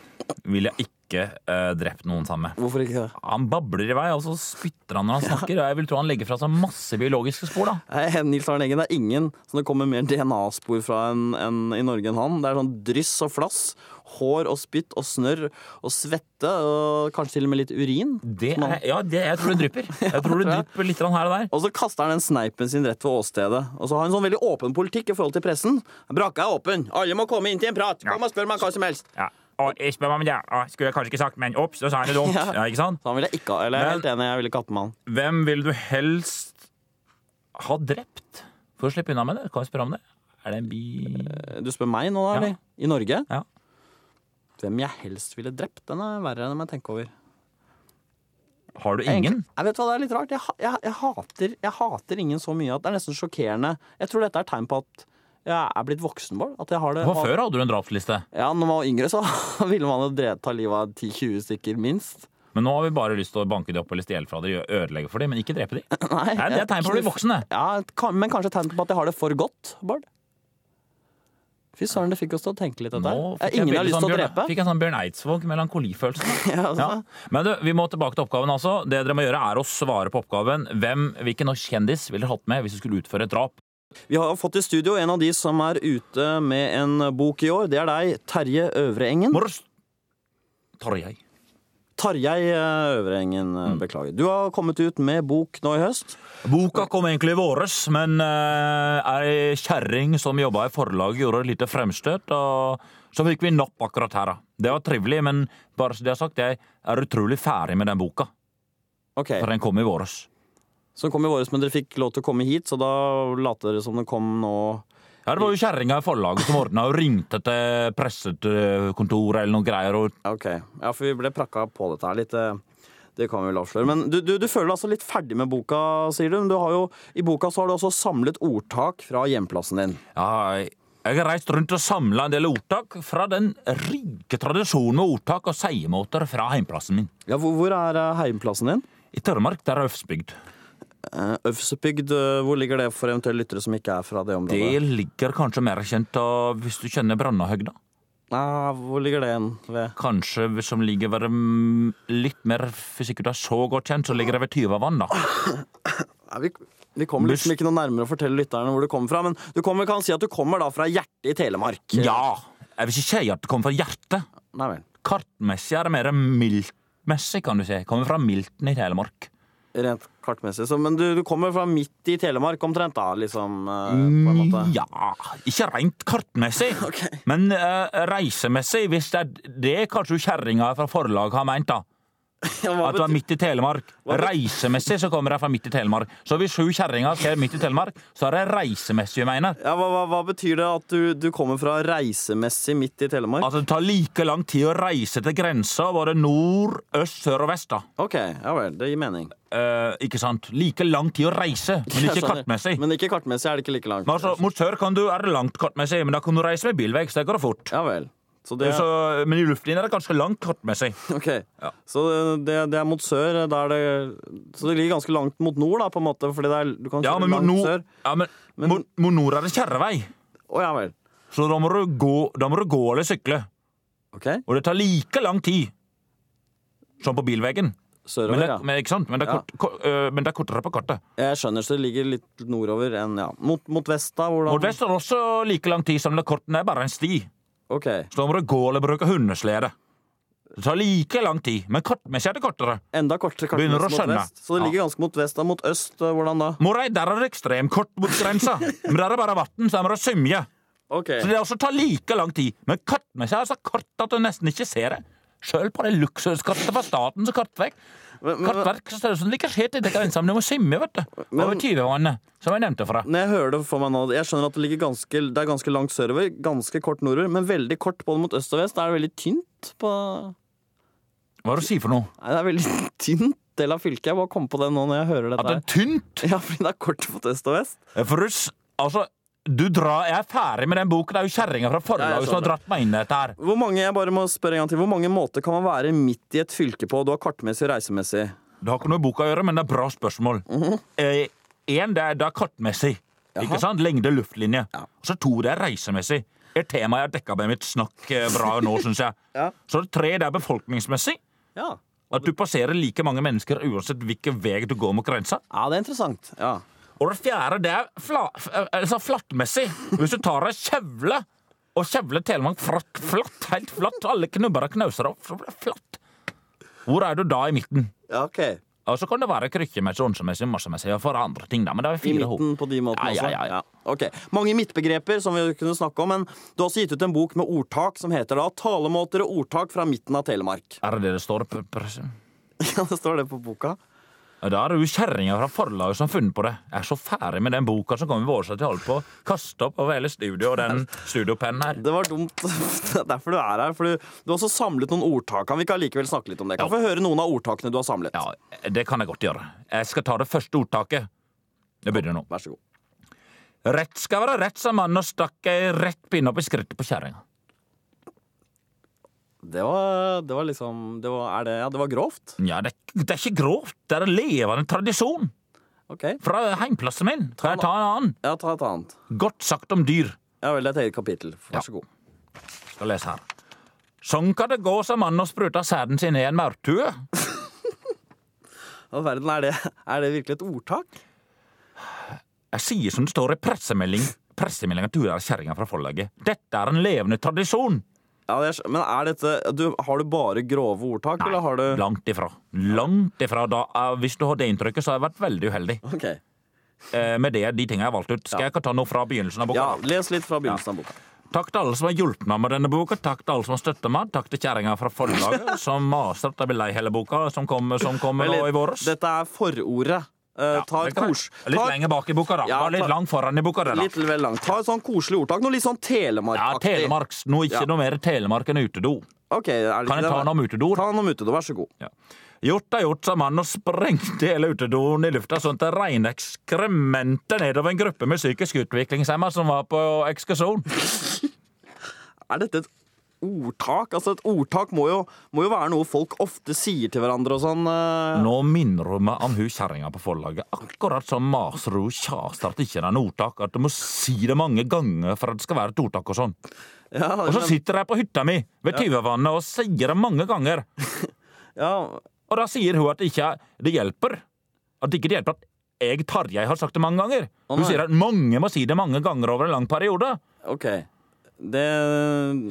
B: ville jeg ikke øh, drept noen sammen med.
A: Hvorfor ikke det?
B: Han babler i vei, og så spytter han når han snakker. og Jeg vil tro han legger fra seg masse biologiske spor, da.
A: Eh, Nils Arne Eggen det er ingen som det kommer mer DNA-spor fra enn enn i Norge enn han. Det er sånn dryss og flass, hår og spytt og snørr og svette og kanskje til og med litt urin.
B: Det er, ja, det, jeg tror det drypper. Jeg tror det drypper litt grann her og der.
A: Og så kaster han den sneipen sin rett ved åstedet. Og så har han en sånn veldig åpen politikk i forhold til pressen. Brakka er åpen. Alle må komme inn til en prat. Kom og spør meg hva som helst.
B: Ja. Og jeg spør meg om det. Å, skulle jeg kanskje ikke sagt, men ops, så sa han det dumt.
A: Ja.
B: Ja, ikke sant?
A: Så han ville ikke ha Eller jeg er
B: Men-
A: helt enig, jeg ville ikke hatt med han.
B: Hvem vil du helst ha drept for å slippe unna med det? Kan vi spørre om det? Er det en bi...
A: Du spør meg nå, da?
B: Ja.
A: eller? I Norge?
B: Ja.
A: Hvem jeg helst ville drept? Den er verre enn jeg tenker over.
B: Har du ingen?
A: Egentlig- Jeg vet hva, Det er litt rart. Jeg, ha- jeg, jeg, hater, jeg hater ingen så mye at det er nesten sjokkerende. Jeg tror dette er tegn på at jeg er blitt voksen, Bård. At jeg har det
B: For før hadde du en drapsliste,
A: Ja, når man var yngre, så ville man jo dre- ta livet av 10-20 stykker, minst.
B: men nå har vi bare lyst til å banke de opp eller stjele fra de, ødelegge for de, men ikke drepe de.
A: Nei,
B: Nei, det er tegn på å bli voksen, det.
A: Ja, kan- Men kanskje tegn på at jeg har det for godt, Bård? Fy søren, det fikk oss til å tenke litt, dette
B: Nå
A: her. Ingen
B: veldig
A: har lyst
B: sånn
A: til å
B: Bjørn-
A: drepe.
B: Fikk en sånn Bjørn Eidsvåg-melankolifølelse.
A: Ja, altså.
B: Ja. Men du, vi må tilbake til oppgaven altså. Det dere må gjøre er å svare på oppgaven. Hvem, hvilken norsk kjendis ville dere hatt med hvis du skulle utføre et drap?
A: Vi har fått i studio en av de som er ute med en bok i år. Det er deg, Terje Øvrengen.
B: Morges! Tarjei.
A: Tarjei eh, Øvrengen, eh, beklager. Du har kommet ut med bok nå i høst.
B: Boka kom egentlig i våres, men uh, ei kjerring som jobba i forlaget, gjorde et lite fremstøt, og så fikk vi napp akkurat her. da. Det var trivelig, men bare så det er sagt, jeg er utrolig ferdig med den boka,
A: Ok,
B: for den kom i våres.
A: Som kom i våres, men dere fikk lov til å komme hit, så da later dere som den kom nå.
B: Ja, Det var jo kjerringa i forlaget som ordna og ringte til pressekontoret eller noen greier. og
A: Ok, Ja, for vi ble prakka på dette her litt. eh, Det kan vi vel avsløre. Men du, du, du føler deg altså litt ferdig med boka, sier du. Men du har jo, I boka så har du også samlet ordtak fra hjemplassen din.
B: Ja, jeg har reist rundt og samla en del ordtak fra den rike tradisjonen med ordtak og seiemåter fra heimplassen min.
A: Ja, Hvor, hvor er eh, heimplassen din?
B: I Tørremark, der er Øfsbygd.
A: Eh, Øvsebygd, eh, hvor ligger det for eventuelle lyttere som ikke er fra det området?
B: Det ligger kanskje mer kjent av hvis du kjenner Brannahøgda. Ah,
A: Nei, hvor ligger det igjen ved?
B: Kanskje som ligger ved mm, litt mer Hvis ikke du er så godt kjent, så ligger det ved Tyvavann, da.
A: vi, vi kommer liksom
B: Bus-
A: ikke noe nærmere å fortelle lytterne hvor du kommer fra, men du kommer, kan si at du kommer da fra hjertet i Telemark.
B: Ja! Jeg vil ikke si at det kommer fra hjertet.
A: Nei vel.
B: Kartmessig er det mer miltmessig, kan du si. Kommer fra milten i Telemark.
A: Rent kartmessig. Så, men du, du kommer fra midt i Telemark omtrent, da, liksom? eh, På en måte.
B: Mm, Ja Ikke rent kartmessig, men eh, reisemessig, hvis det er det kanskje kjerringa fra forlaget har meint, da.
A: Ja, hva
B: At du er
A: betyr-
B: midt i Telemark. Reisemessig så kommer jeg fra midt i Telemark. Så hvis hun kjerringa skrev midt i Telemark, så er det reisemessig hun mener.
A: ja, hva, hva, hva betyr det at du, du kommer fra reisemessig midt i Telemark?
B: At Altså, det tar like lang tid å reise til grensa både nord, øst, sør og vest, da.
A: OK, ja vel. Det gir mening.
B: Eh, ikke sant? Like lang tid å reise, men
A: Jeg
B: ikke
A: skjønner.
B: kartmessig. Men
A: sånn, Men ikke kartmessig er det ikke like langt.
B: altså, mot sør kan du, er det langt kartmessig, men da kan du reise med bilvei, så det går fort.
A: Ja vel. Så det,
B: Så, men i luftlinja er det ganske langt kartmessig.
A: ok. så det, det er mot sør. Da er det, så det ligger ganske langt mot nord, da, på en måte. Fordi det er, du kan
B: Ja,
A: kjøre
B: men mot
A: langt
B: nord,
A: sør.
B: ja, men,
A: Men-
B: mot- mot nord er det kjerrevei,
A: Å ja vel.
B: så da må, du gå, da må du gå eller sykle.
A: Ok.
B: Og det tar like lang tid som på bilveien. Men,
A: Sørover,
B: det-
A: ja.
B: men, ikke sant? Men, det er
A: Ja.
B: kort, ko- øh, men det er kortere på kartet.
A: Jeg skjønner, så det ligger litt nordover enn ja. Mot, mot vest, da? Hvordan?
B: Mot vest er det også like lang tid som det korten er bare en sti.
A: Ok.
B: Så da må du gå eller bruke hundeslede. Det tar like lang tid, men kartmessig er det kortere.
A: Enda kortere kartmessig
B: Begynner å
A: mot
B: skjønne.
A: vest. Så det ligger ganske mot vest, da. Mot øst, eh, hvordan da?
B: Morei, der er det ekstremt kort mot grensa, men der er bare vann, så der må du svømme.
A: Ok.
B: Så det også tar like lang tid, men altså, kartmessig er det så kort at du nesten ikke ser det. Sjøl på det luksuskartet fra Statens kartvegg
A: Men, men,
B: Kartverksstørrelsen liker skjete etter grensa, men det må simme, vet du. Over tyvevannet, som jeg nevnte fra.
A: når jeg hører det for meg nå, jeg skjønner at det ligger ganske, det er ganske langt sørover, ganske kort nordover, men veldig kort både mot øst og vest. Da er det veldig tynt på Nei,
B: Hva er det du sier for noe?
A: det er veldig tynt del av fylket. Jeg bare kom på det nå når jeg hører
B: At det
A: dette.
B: er tynt? eh,
A: her. Ja, fordi det er kort mot øst og vest.
B: For du, s- altså, du drar, jeg er ferdig med den boken. Det er sånn. jo kjerringa fra
A: Ja, jeg
B: forlaget som har
A: skjønner.
B: dratt meg inn i dette her.
A: Hvor mange jeg bare må spørre en gang til, hvor mange måter kan man være midt i et fylke på? Du har kartmessig og reisemessig.
B: Det har ikke noe med boka å gjøre, men det er bra spørsmål. eh, en, det er, det er kartmessig. Ikke sant? Lengde, luftlinje. Og så to, det er reisemessig. Et tema jeg har dekka med mitt snakk eh, bra nå, syns jeg.
A: Ja.
B: Så det tre, det er befolkningsmessig.
A: Ja.
B: At du passerer like mange mennesker uansett hvilken vei du går mot grensa.
A: ja, det er interessant. Ja.
B: Og det fjerde, det er fla, f- eh, altså flattmessig. Hvis du tar ei kjevle og kjevler Telemark fratt, flatt, helt flatt, alle knubber og knauser opp, så blir det flatt. Hvor er du da i midten?
A: ja, ok.
B: Og så kan det være krykkemessig, onsemessig, massemessig og for andre ting. da, Men det er
A: I
B: fire hop.
A: midten på de måtene
B: Ja, ja,
A: også?
B: ja, ja.
A: Ok. Mange midtbegreper som vi kunne snakke om, men du har også gitt ut en bok med ordtak som heter da 'Talemåter og ordtak fra midten av Telemark'.
B: Er det det det står? p- p-
A: Ja, det står det på boka.
B: Da er det jo kjerringa fra forlaget som har funnet på det. Jeg er så ferdig med den boka som kommer våres at jeg holder på å kaste opp over hele studioet og den studiopennen her.
A: Det var dumt. Det er derfor du er her. For du, du har også samlet noen ordtak. Kan vi ikke allikevel snakke litt om det? Kan vi få høre noen av ordtakene du har samlet?
B: Ja, det kan jeg godt gjøre. Jeg skal ta det første ordtaket. Det begynner nå.
A: Vær så god.
B: Rett skal være rett, sa mannen og stakk ei rett pinne opp i skrittet på kjerringa.
A: Det var, det var liksom det var, er det, ja, det var grovt.
B: Ja, det, er- det er ikke grovt. Det er en levende tradisjon
A: Ok.
B: fra heimplassen min. Kan jeg ta en annen?
A: Ja, ta et annet.
B: Godt sagt om dyr.
A: Ja vel, det er et eget kapittel. Vær så god.
B: Skal lese her. Sånn kan det gå, sa mannen og spruta sæden sin i en maurtue.
A: All verden, er det, er det virkelig et ordtak?
B: Jeg sier som det står i pressemelding. Pressemeldinga til hun der kjerringa fra forlaget. Dette er en levende tradisjon.
A: Ja, det er, men er dette du, Har du bare grove ordtak, eller har du
B: Langt ifra. Langt ifra. Da, eh, hvis du har det inntrykket, så har jeg vært veldig uheldig
A: Ok.
B: eh, med det, de tinga jeg har valgt ut. Skal jeg ikke ta noe fra begynnelsen av boka?
A: Ja, les litt fra begynnelsen av boka.
B: Takk til alle som har hjulpet meg med denne boka. Takk til alle som har støttet meg. Takk til kjerringa fra forlaget, som maser at jeg blir lei hele boka, som kommer, som kommer nå
A: Eller,
B: i våres.
A: Dette er forordet. Eh, ta et
B: Det kan jeg-
A: kors...
B: Litt
A: ta-
B: lenger bak i boka, da.
A: Ja,
B: Bare litt
A: ta-
B: langt foran i boka. Der, da.
A: Litt vel langt. Ta et sånn koselig ordtak. Noe litt sånn
B: Ja,
A: Telemark-aktig.
B: Telemarks. Noe, ikke
A: Ja.
B: noe mer Telemark enn utedo.
A: Ok, er det
B: Kan
A: ikke
B: jeg
A: det?
B: ta noe om utedoer?
A: Ta noe om utedo, vær så god.
B: Ja. Gjort er gjort, sa mannen og sprengte hele utedoen i lufta sånn at det regnet ekskrementet nedover en gruppe med psykisk utviklingshemma som var på ekskursjon.
A: Er dette et ordtak? Altså, et ordtak må jo, må jo være noe folk ofte sier til hverandre og sånn. eh.
B: Nå minner hun meg om hun kjerringa på forlaget. Akkurat som maser hun kjaser at det ikke er noe ordtak, at du må si det mange ganger for at det skal være et ordtak og sånn.
A: Ja,
B: Og så
A: men-
B: sitter jeg på hytta mi ved Tyvevannet og sier det mange ganger.
A: ja,
B: Og da sier hun at det ikke er- det hjelper. At det ikke hjelper at jeg, Tarjei, har sagt det mange ganger. Hun
A: nei.
B: sier at mange må si det mange ganger over en lang periode.
A: OK. Det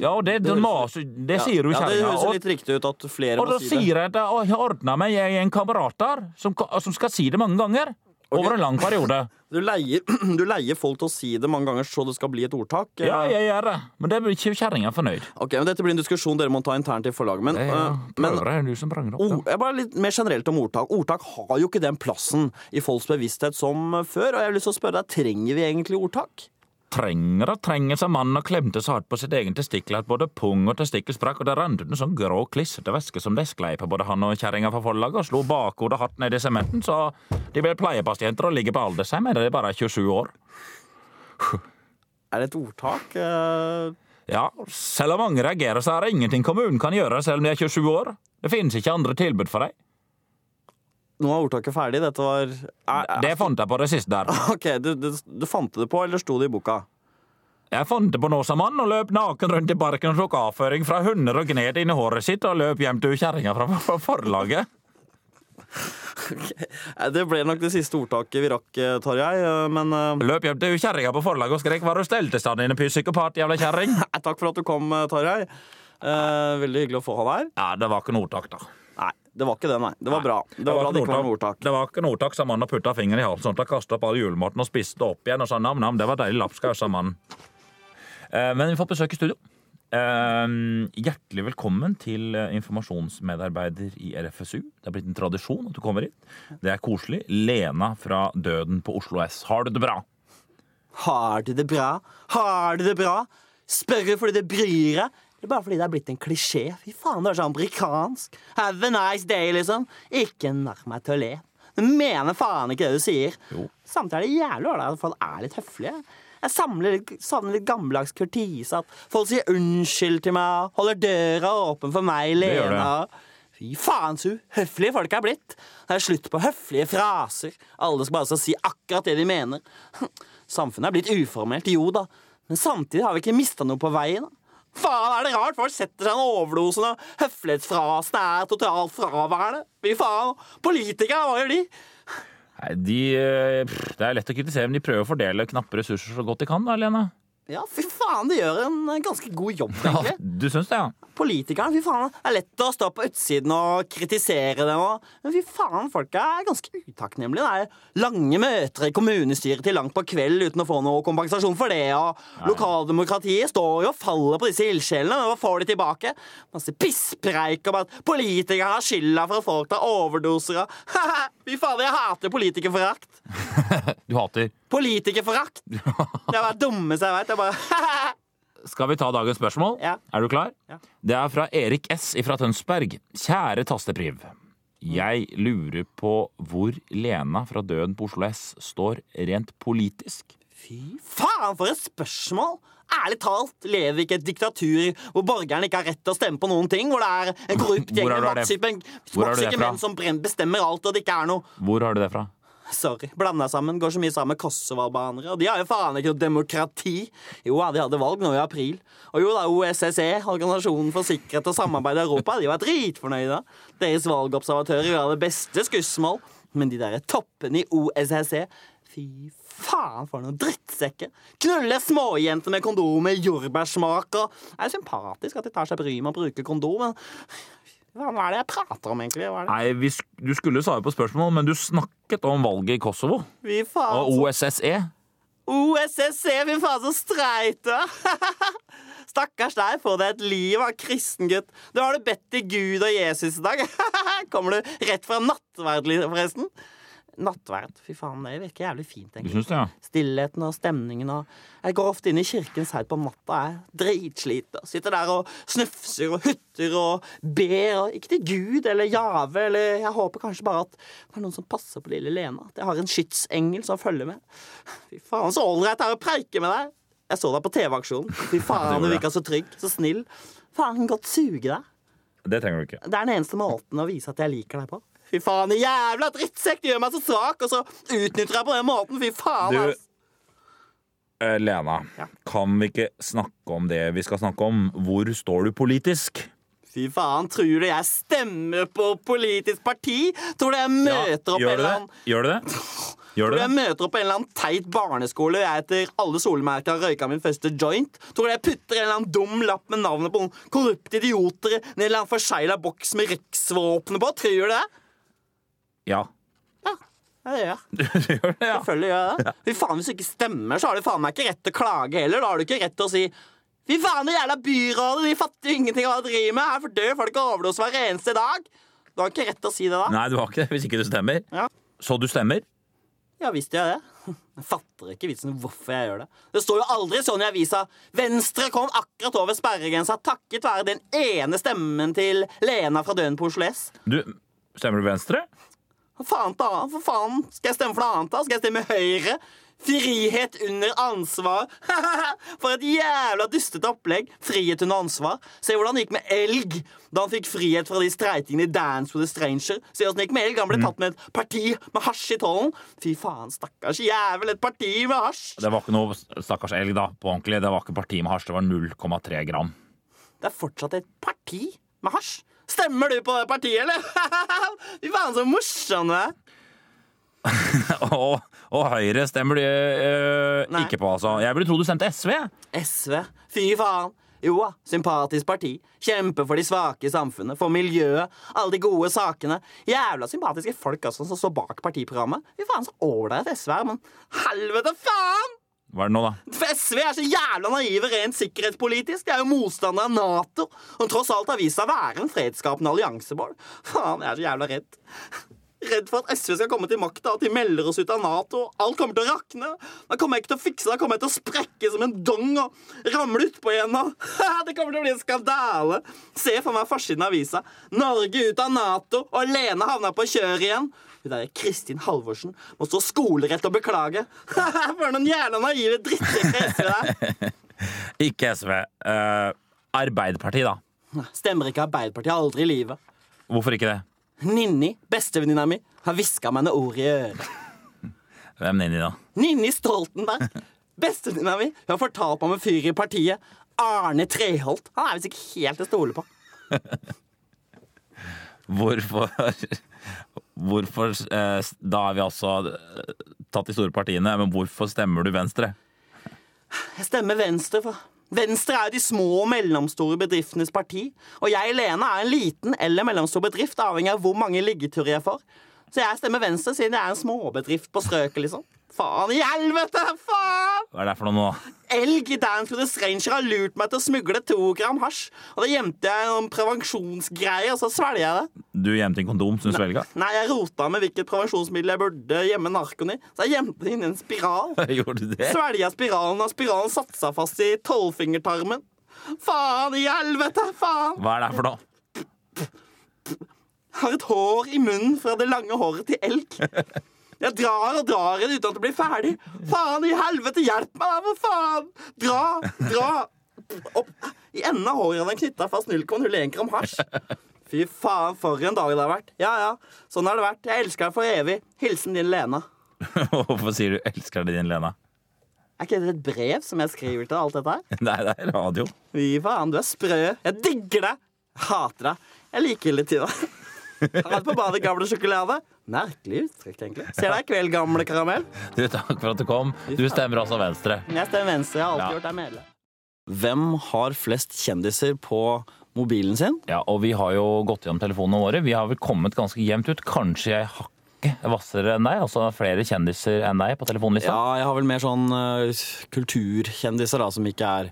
B: Ja, og det, det,
A: høres-
B: maser, det sier hun
A: ja, det
B: kjerringa.
A: høres jo
B: og-
A: litt riktig ut at flere
B: Og da
A: må si det.
B: sier jeg at å, jeg har ordna meg jeg er en kamerat der som, ka- som skal si det mange ganger. Over en lang periode.
A: Du leier, du leier folk til å si det mange ganger så det skal bli et ordtak?
B: Ja,
A: eller?
B: jeg gjør det. Men det blir ikke kjerringa fornøyd.
A: Ok, men Dette blir en diskusjon dere må ta internt i forlaget. Men,
B: Det er,
A: eh, men
B: prøver, er du som pranger
A: O-
B: opp.
A: jeg er bare litt mer generelt om ordtak. Ordtak har jo ikke den plassen i folks bevissthet som eh, før. Og jeg har lyst til å spørre deg, trenger vi egentlig ordtak?
B: Trenger og trenger seg mannen og klemte så hardt på sitt egen testikkel at både pung og testikkel sprakk, og det rant ut en sånn grå, klissete væske som de sklei på både han og kjerringa fra forlaget, og slo bakhodet hardt ned i sementen, så de ble pleiepasienter og ligger på aldersheim etter de bare er 27 år.
A: Er det et ordtak? Eh,
B: Ja, selv om mange reagerer, så er det ingenting kommunen kan gjøre selv om de er 27 år. Det finnes ikke andre tilbud for dem.
A: Nå er ordtaket ferdig. Dette var er, er,
B: Det fant jeg på det siste der.
A: Ok, du, du, du fant det på, eller sto det i boka?
B: Jeg fant det på nå som mann og løp naken rundt i parken og tok avføring fra hunder og gned inn i håret sitt og løp hjem til kjerringa fra fra forlaget.
A: Eh, Det ble nok det siste ordtaket vi rakk, eh, Tarjei. eh, Men eh,
B: Løp hjem til kjerringa på forlaget og skrek 'Hva har du stelt i stand, din psykopat, jævla kjerring?'
A: nei, takk for at du kom, eh, Tarjei. Eh, veldig hyggelig å få han her.
B: Ja, det var ikke noe ordtak, da.
A: Nei, det var ikke det, nei. Det var bra. Det var bra det
B: ikke
A: ikke var noe ordtak.
B: Det var ikke noe ordtak, sa mannen og putta fingeren i halsen og kastet opp all julematen og spiste det opp igjen og sa nam-nam. Det var deilig lapskaus, sa mannen. Eh, Men vi får besøk i studio. Eh, Ehm, hjertelig velkommen til eh, informasjonsmedarbeider i RFSU. Det er blitt en tradisjon at du kommer hit. Det er koselig. Lena fra Døden på Oslo S. Har du det bra?
A: Har du det bra? Har du det bra? Spørre fordi det bryr deg? Det er bare fordi det er blitt en klisjé. Fy faen, det er så amerikansk. Have a nice day, liksom. Ikke narr meg til å le. Du mener faen ikke det du sier.
B: Jo.
A: Samtidig er det jævlig ålreit at folk er litt høflige. Jeg samler litt, savner litt gammeldags kurtise. At folk sier unnskyld til meg, holder døra åpen for meg,
B: Det gjør
A: Lena. Fy faen, så uhøflige folk er blitt. Det er slutt på høflige fraser. Alle skal bare så si akkurat det de mener. Samfunnet er blitt uformelt, jo da. Men samtidig har vi ikke mista noe på veien. da. Faen, er det rart folk setter seg en overdose når høflighetsfrasene er totalt fraværende? Fy faen. Politikere, hva gjør de?
B: Nei, de, eh, pff, det er lett å kritisere, men de prøver å fordele knappe ressurser så godt de kan, da, Lena.
A: Ja, fy faen, de gjør en eh, ganske god jobb, egentlig.
B: du syns det, ja?
A: Politikerne, fy faen, det er lett å stå på utsiden og kritisere dem. Og, men fy faen, folk er ganske utakknemlige. Det er lange møter i kommunestyret til langt på kveld uten å få noe kompensasjon for det. Og lokaldemokratiet står jo og faller på disse ildsjelene. men Hva får de tilbake? Masse pisspreik om at politikere har skylda for at folk tar overdoser av Fy faen, jeg hater politikerforakt.
B: Du hater.
A: Politikerforakt! Det er bare det dummeste jeg veit. Jeg bare
B: Skal vi ta dagens spørsmål?
A: Ja.
B: Er du klar?
A: Ja.
B: Det er fra Erik S. fra Tønsberg. Kjære Tastepriv. Jeg lurer på hvor Lena fra Døden på Oslo S står rent politisk.
A: Fy faen, for et spørsmål! Ærlig talt, lever vi ikke i et diktatur hvor borgerne ikke har rett til å stemme på noen ting? Hvor det er en korrupt gjeng
B: Hvor har
A: med
B: du det?
A: maktsyke menn-
B: Hvor har du det
A: maktsyke
B: fra?
A: menn som brenn- bestemmer alt, og det ikke er noe
B: Hvor har du det fra?
A: Sorry. Blanda sammen. Går så mye sammen med kosovoalbanere. Og de har jo faen ikke noe demokrati. Jo da, de hadde valg nå i april. Og jo da, OSSE, E, Organisasjonen for sikkerhet og samarbeid i Europa, de var dritfornøyde. Deres valgobservatører gjorde det beste skussmål. Men de derre toppene i OSSE E, Fy faen, for noen drittsekker! Knuller småjenter med kondom med jordbærsmak og Det er sympatisk at de tar seg bryet med å bruke kondom, men hva hva er det jeg prater om, egentlig? Hva er det?
B: Nei, vi sk Du skulle svare på spørsmål, men du snakket om valget i Kosovo
A: Fy faen,
B: og OSSE.
A: OSSE, fy faen så streite! Stakkars deg, får deg et liv av kristen gutt. Du har det bedt til Gud og Jesus i dag. Kommer du rett fra nattverd, li- forresten? Nattverd, fy faen, det virker jævlig fint,
B: Du
A: egentlig.
B: syns det, ja?
A: Stillheten og stemningen og Jeg går ofte inn i kirken seint på natta, jeg. Dritsliten. Sitter der og snufser og hutter og ber. Og ikke til Gud eller Jave eller Jeg håper kanskje bare at det er noen som passer på lille Lena. At jeg har en skytsengel som følger med. Fy faen, så ålreit det er å preike med deg! Jeg så deg på TV-aksjonen. Fy faen, du
B: gjorde
A: virka så trygg. Så snill. Faen, godt suge deg.
B: Det trenger du ikke.
A: Det er den eneste måten å vise at jeg liker deg på. Fy faen, din jævla drittsekk! Du gjør meg så svak, og så utnytter jeg på den måten! Fy faen,
B: Du,
A: ass!
B: Eh, Lena,
A: Ja.
B: kan vi ikke snakke om det vi skal snakke om? Hvor står du politisk?
A: Fy faen, tror du jeg stemmer på politisk parti? Tror du jeg møter opp en
B: Gjør du
A: eller
B: det?
A: annen
B: Gjør du det? Gjør
A: Tror
B: du
A: du jeg
B: det?
A: møter opp på en eller annen teit barneskole og jeg etter alle solemerker har røyka min første joint? Tror du jeg putter en eller annen dum lapp med navnet på noen korrupte idioter i en eller annen forsegla boks med riksvåpenet på? Tror du det?
B: Ja.
A: Ja, det gjør jeg.
B: Du gjør det, ja.
A: Selvfølgelig gjør jeg det. Fy faen, Hvis du ikke stemmer, så har du faen meg ikke rett til å klage heller. Da har du ikke rett til å si Fy faen, det jævla byrådet, de fatter jo ingenting av hva de driver med. Her fordør folk av overdose hver eneste dag. Du har ikke rett til å si det da.
B: Nei, du har ikke det hvis ikke du stemmer.
A: Ja.
B: Så du stemmer?
A: Ja visst gjør jeg det. Jeg fatter ikke vitsen hvorfor jeg gjør det. Det står jo aldri sånn i avisa. Venstre kom akkurat over sperregrensa takket være den ene stemmen til Lena fra Døden på Oslo S.
B: Du, stemmer du Venstre?
A: Hva faen, da? For faen? Skal jeg stemme for noe annet, da? Skal jeg stemme Høyre? Frihet under ansvar. For et jævla dustete opplegg. Frihet under ansvar. Se hvordan det gikk med Elg da han fikk frihet fra de streikingene i Dance with a Stranger. Se hvordan det gikk med Elg. Han ble tatt med et parti med hasj i tollen. Fy faen, stakkars jævel. Et parti med hasj.
B: Det var ikke noe stakkars elg, da, på ordentlig. Det var ikke parti med hasj, det var 0,3 gram.
A: Det er fortsatt et parti med hasj. Stemmer du på det partiet, eller? Fy faen, så morsom du er.
B: Og, og Høyre stemmer du eh,
A: Nei.
B: ikke på, altså. Jeg ville tro du stemte SV.
A: SV. Fy faen. Jo da, sympatisk parti. Kjempe for de svake i samfunnet, for miljøet, alle de gode sakene. Jævla sympatiske folk altså, som står bak partiprogrammet. Fy faen, så ålreit SV er, men helvete faen!
B: Hva er det nå, da?
A: For SV er så jævla naive rent sikkerhetspolitisk. De er jo motstandere av Nato, som tross alt har vist seg å være en fredsskapende allianse, Bård. Faen, jeg er så jævla redd. Redd for at SV skal komme til makta, at de melder oss ut av Nato. Alt kommer til å rakne. Da kommer jeg ikke til å fikse det. Da kommer jeg til å sprekke som en dong og ramle utpå igjen. og Det kommer til å bli en skandale. Se for meg forsiden av avisa. Norge ut av Nato, og Lene havna på kjøret igjen. Hun derre Kristin Halvorsen må stå skolerett og beklage. For noen jævla naive drittsekker SV der.
B: Ikke SV. Eh, Arbeiderpartiet, da.
A: Stemmer ikke Arbeiderpartiet aldri i livet.
B: Hvorfor ikke det?
A: Ninni, bestevenninna mi, har hviska meg noe ord i øret.
B: Hvem er de, da?
A: Ninni Stoltenberg, bestevenninna mi, hun har fortalt meg om en fyr i partiet. Arne Treholt. Han er visst ikke helt til å stole på.
B: Hvorfor Hvorfor eh, Da har vi altså eh, tatt de store partiene, men hvorfor stemmer du Venstre?
A: Jeg stemmer Venstre. For. Venstre er jo de små og mellomstore bedriftenes parti. Og jeg, Lene, er en liten eller mellomstor bedrift, avhengig av hvor mange liggeturer jeg får. Så jeg stemmer Venstre, siden jeg er en småbedrift på strøket, liksom. Faen i helvete! Faen!
B: Hva er det for noe nå? da?
A: Elg i Dance with the Stranger har lurt meg til å smugle to gram hasj. Og da gjemte jeg noen prevensjonsgreier, og så svelger jeg det.
B: Du gjemte inn kondom som du svelga?
A: Nei, jeg rota med hvilket prevensjonsmiddel jeg burde gjemme narkoen i, så jeg gjemte det inn i en spiral.
B: Gjorde du det?
A: Svelga spiralen, og spiralen satte seg fast i tolvfingertarmen. Faen i helvete! Faen!
B: Hva er det for noe?
A: Har et hår i munnen fra det lange håret til elg. Jeg drar og drar i det uten at det blir ferdig. Faen i helvete, hjelp meg, da, for faen! Dra, dra. Opp. I enden av håret hadde han knytta fast 0,01 gram hasj. Fy faen, for en dag det har vært. Ja, ja, sånn har det vært. Jeg elsker deg for evig. Hilsen din Lena.
B: Hvorfor sier du 'elsker deg din', Lena?
A: Er ikke det et brev som jeg skriver til alt dette her?
B: Nei, det er radio.
A: Fy faen, du er sprø. Jeg digger deg. Hater deg. Jeg liker litt til deg. Har vært på badet gamle sjokolade. Merkelig uttrekk, egentlig. Ser deg i kveld, gamle karamell.
B: Du, takk for at du kom. Du stemmer altså Venstre.
A: Jeg stemmer venstre. Jeg har alltid
B: Ja.
A: gjort deg medlem. Hvem har flest kjendiser på mobilen sin?
B: Ja, og vi har jo gått gjennom telefonene våre. Vi har vel kommet ganske jevnt ut. Kanskje jeg hakket hvassere enn deg, altså flere kjendiser enn deg på telefonlista.
A: Ja, jeg har vel mer sånn eh, kulturkjendiser, da, som ikke er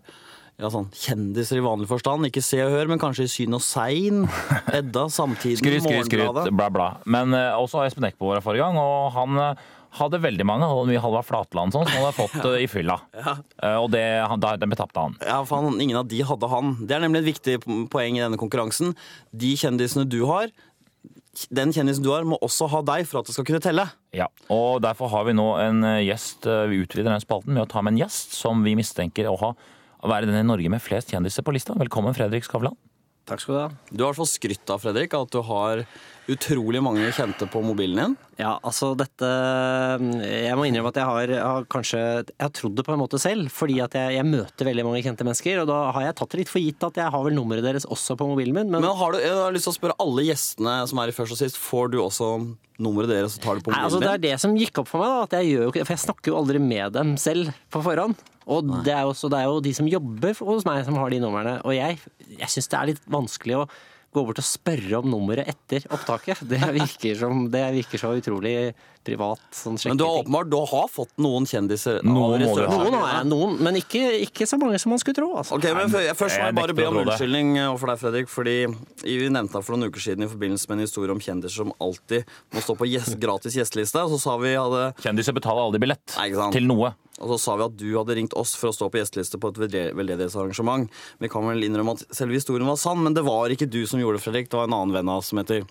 A: ja, sånn kjendiser i vanlig forstand. Ikke Se og Hør, men kanskje i Syn og Sein. Edda, Samtiden,
B: Skryt, skryt, skryt,
A: Morgenbladet.
B: bla, bla. Men eh, også har Espen Eckbo vært her forrige gang, og han eh, hadde veldig mange. Han hadde mye Halvard Flatland og sånn, som han hadde fått eh, i fylla. Eh, og det, han, da, den betapte han.
A: Ja, for han, Ingen av de hadde han. Det er nemlig et viktig po- poeng i denne konkurransen. De kjendisene du har, den kjendisen du har, må også ha deg for at det skal kunne telle.
B: Ja, og derfor har vi nå en eh, gjest. eh, Vi utvider denne spalten med å ta med en gjest som vi mistenker å ha å være den i Norge med flest kjendiser på lista. Velkommen, Fredrik Skavlan.
A: Takk skal Du ha. Du har i hvert fall skrytt av Fredrik, at du har utrolig mange kjente på mobilen din.
G: Ja, altså dette Jeg må innrømme at jeg har, har kanskje Jeg har trodd det på en måte selv, fordi at jeg, jeg møter veldig mange kjente mennesker. Og da har jeg tatt det litt for gitt at jeg har vel nummeret deres også på mobilen min. Men,
A: Men har du, jeg har lyst til å spørre alle gjestene som er i først og sist, får du også nummeret deres og tar det på
G: nei,
A: mobilen
G: altså, det er
A: din?
G: det som gikk opp for meg, da. At jeg gjør jo ikke For jeg snakker jo aldri med dem selv på forhånd. Og det er, jo også, det er jo de som jobber hos meg, som har de numrene. Og jeg, jeg syns det er litt vanskelig å gå bort og spørre om nummeret etter opptaket. Det virker, som, det virker så utrolig privat. Sånn
A: Men du har
G: sjekketing.
A: åpenbart du har fått noen kjendiser.
B: Noen må du ha.
G: Noen har jeg, noen, men ikke, ikke så mange som man skulle tro. Altså.
A: Ok, men før- Først må
B: jeg
A: jeg bare
B: nekter
A: be
B: å
A: om
B: tro det.
A: unnskyldning eh, overfor deg, Fredrik. Fordi Vi nevnte deg for noen uker siden i forbindelse med en historie om kjendiser som alltid må stå på gjest, gratis gjesteliste. Og så sa vi hadde
B: Kjendiser betaler aldri billett
A: Nei, ikke sant.
B: til noe.
A: og så sa vi at du hadde ringt oss for å stå på gjesteliste på et velde- veldedighetsarrangement. Vi kan vel innrømme at selve historien var sann, men det var ikke du som gjorde det, Fredrik. Det var en annen venn av oss som heter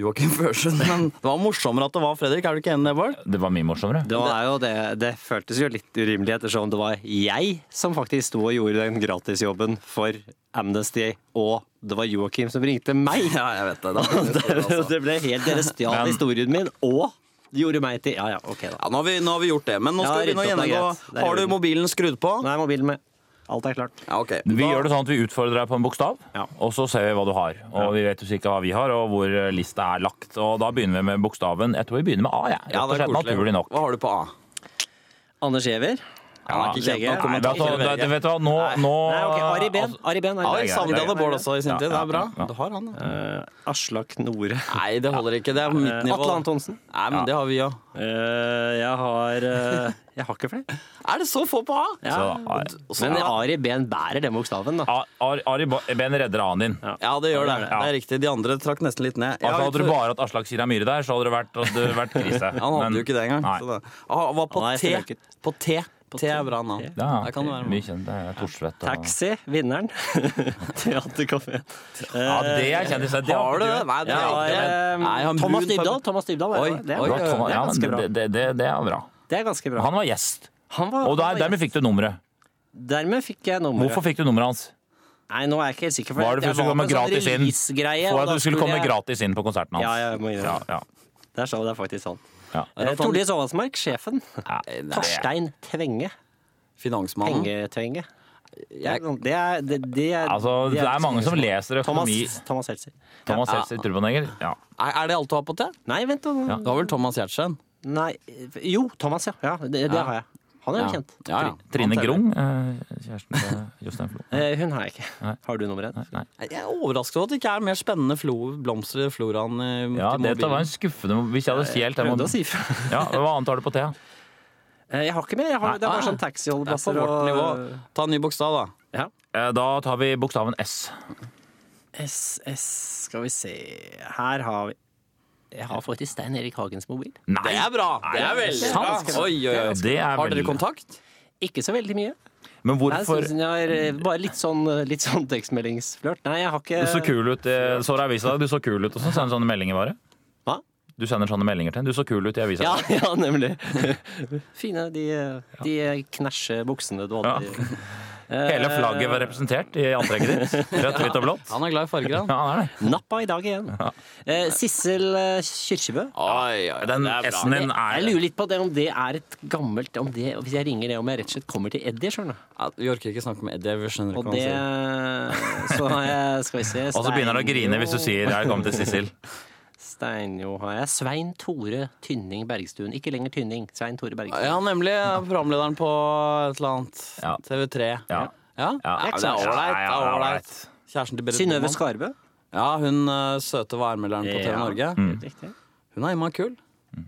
A: Joakim Førsund. Men det var morsommere at det var Fredrik. Er du ikke enig i det, Bård?
B: Det var mye morsommere.
G: Det, var jo det, det føltes jo litt urimelig ettersom det var jeg som faktisk sto og gjorde den gratisjobben for Amnesty, og det var Joakim som ringte meg.
A: Ja, jeg vet det. det, var
G: Det,
A: altså.
G: det ble helt Dere stjal historien min, og gjorde meg til Ja ja, OK, da.
A: Ja, nå har, vi, nå har vi gjort det, men nå
G: Ja,
A: skal vi begynne å
G: riktig, det er
A: gjennomgå.
G: greit. Det er i
A: Har du
G: orden.
A: mobilen skrudd på?
G: Nå er mobilen med. Alt er klart.
A: Ja, ok.
B: Vi
A: Da-
B: gjør det sånn at vi utfordrer deg på en bokstav,
G: Ja.
B: og så ser vi hva du har. Og vi vet jo ikke hva vi har, og hvor eh, lista er lagt. Og da begynner vi med bokstaven Jeg tror vi begynner med A, jeg.
A: Ja,
B: Rett og
A: det er
B: slett naturlig
A: koselig.
B: nok.
A: Hva har du på A?
G: Anders Giæver.
A: Han er ikke
B: Ja,
A: kjent nok
B: Nei, vet du,
A: kommentator.
B: hva, vet du hva, nå, nå
G: Nei, ok, Ari Ben. Ari Ben,
A: Ja, jeg
G: Ari
A: Eh,
G: ben.
A: savnet Anne Bård også i sin
G: Ja,
A: tid. Det
G: ja,
A: er bra.
B: ja.
A: Du har han, ja.
H: Eh, Aslak Nore.
A: Nei, det holder ikke. Det er på mitt
G: Eh,
A: nivå.
G: Atle Antonsen.
A: Nei, men det har vi òg.
H: Eh, jeg har eh, Jeg har ikke flere.
A: Er det så få på A?
G: Ja.
B: Nei.
G: Men Ari Ben bærer den bokstaven, da.
B: A- Ar- Ari Ba- Ben redder A-en din.
A: Ja, det gjør det.
B: Ja.
A: Det er riktig. De andre trakk nesten litt ned.
B: Altså,
A: Ja,
B: hadde du bare hatt Aslak Sira Myhre der, så hadde det vært, hadde det vært krise.
A: han hadde jo ikke det engang.
B: Nei.
A: Så det. Ah, Han var på
H: Han er
A: T.
H: strøket.
A: På T. T er bra navn.
B: Ja,
A: Der kan det være noe.
B: mye kjent. Det er Thorstvedt og
H: Taxi, vinneren. Theatercafé.
B: Ja, det er kjendiser. det
A: Har du det? Nei, det
H: Jeg
A: er
H: har
A: ikke
H: eh,
A: Nei, han
G: Thomas
A: brun-
G: Dybdahl. Thomas Dybdahl er
A: Oi,
G: det. det. er
A: oi.
B: Bra,
G: bra.
B: Thomas. Ja,
H: ganske
B: men
H: bra.
B: det, det, det, det er bra.
H: Det er ganske bra.
B: Han var gjest,
H: Han var,
B: og
H: han
B: der,
H: var
B: dermed
H: gjest.
B: fikk du nummeret.
H: dermed fikk jeg nummeret.
B: Hvorfor fikk du nummeret hans?
H: Nei, nå er jeg ikke helt sikker. for
B: Var
H: jeg
B: det for at du skulle
H: var på
B: komme
H: en
B: gratis
H: sånn
B: inn?
H: releasegreie,
B: For
H: og da
B: at du skulle
H: skulle
B: komme
H: jeg-
B: gratis inn på konserten hans.
H: Ja, ja, jeg må gjøre det.
B: ja.
H: Der sa du det er faktisk sant.
B: Ja.
H: Eh, Tordis Aasmark, sjefen.
A: Nei, Mhm. nei,
G: Torstein Tvenge.
A: Finansmannen.
G: Pengetvenge. Det er, det er, det det er,
B: Altså, det er mange som leser økonomi.
G: Thomas, Thomas Seltzer.
B: Thomas Seltzer, Turboneger. Ja.
A: Er er det alt du har på T?
G: Nei, vent da.
B: Ja.
A: Du har vel Thomas Giertsen?
G: Nei, jo, Thomas, ja. ja det, det har jeg. Han er jo kjent.
A: Ja, ja.
B: Trine
A: Han teller.
B: Grung, eh, kjæresten til Jostein Flo.
G: Eh, Hun har jeg ikke. Har du nummeret?
B: Nei.
A: Jeg er overrasket over at det ikke er mer spennende flo blomster i floraen. i-
B: Ja,
A: til
B: dette
A: mobilen.
B: var en skuffende Hvis jeg hadde stjelt den
G: Prøvde å
B: må-
G: si fra.
B: ja, Hva annet har du på T?
G: Eh, Jeg har ikke mer. Jeg har, det er bare sånn
A: Det er på
G: taxiholdeplasser
A: vårt nivå.
G: og
A: Ta en ny bokstav, da.
G: ja.
B: Eh, Da tar vi bokstaven S.
G: SS Skal vi se Her har vi Jeg har faktisk Stein Erik Hagens mobil.
B: Nei!
A: Det er bra! Det er veldig bra.
B: sant.
A: Oi, oi, oi.
B: Det er
A: Har dere
B: vel-
A: kontakt?
G: Ikke så veldig mye.
B: Men
G: Nei,
B: hvorfor
G: jeg synes jeg har, eh, bare litt sånn, litt sånn tekstmeldingsflørt. Nei, jeg har ikke
B: Du så kul ut eh, så det i avisa, du så kul ut og så sender sånne meldinger bare.
G: Hva?
B: Du sender sånne meldinger til henne. Du så kul ut i avisa.
G: Ja, ja nemlig. Fine, de, eh, de knæsje buksene du hadde.
B: Hele flagget var representert i antrekket ditt. Rødt, hvitt og blått.
A: Han er glad i farger, han.
B: Ja, han er det.
G: Nappa i dag igjen. Eh, Sissel eh, Kyrkjebø.
A: Oi, oi,
B: Den
A: det er bra.
B: S-en din
G: Jeg
B: er
G: lurer litt på det, om det er et gammelt om det, Hvis jeg ringer det, om jeg rett og slett kommer til Eddie, skjønner du.
A: Ja, Vi orker ikke snakke med Eddie. Vi skjønner ikke
G: Og
A: hva
G: det eh,
A: han sier.
G: Så har jeg Skal vi se
B: Og så begynner han å grine hvis du sier 'jeg kommer til Sissel'.
G: Steinjo har jeg. Svein Tore Tynning Bergstuen. Ikke lenger Tynning. Svein Tore Bergstuen.
A: Ja, nemlig eh, programlederen på et eller annet.
B: Ja.
A: TV3.
B: Ja.
A: Ja,
B: Ja.
A: men det
B: Ja, ja,
A: er ålreit. det
B: ja, det
A: er
B: er
A: ålreit. Kjæresten til Berit
G: Synnøve
A: Normann.
G: Skarbø.
A: Ja, hun eh, søte værmelderen på TV
G: Ja.
A: Norge.
B: Mm.
G: Helt riktig.
A: Hun er innmari kul.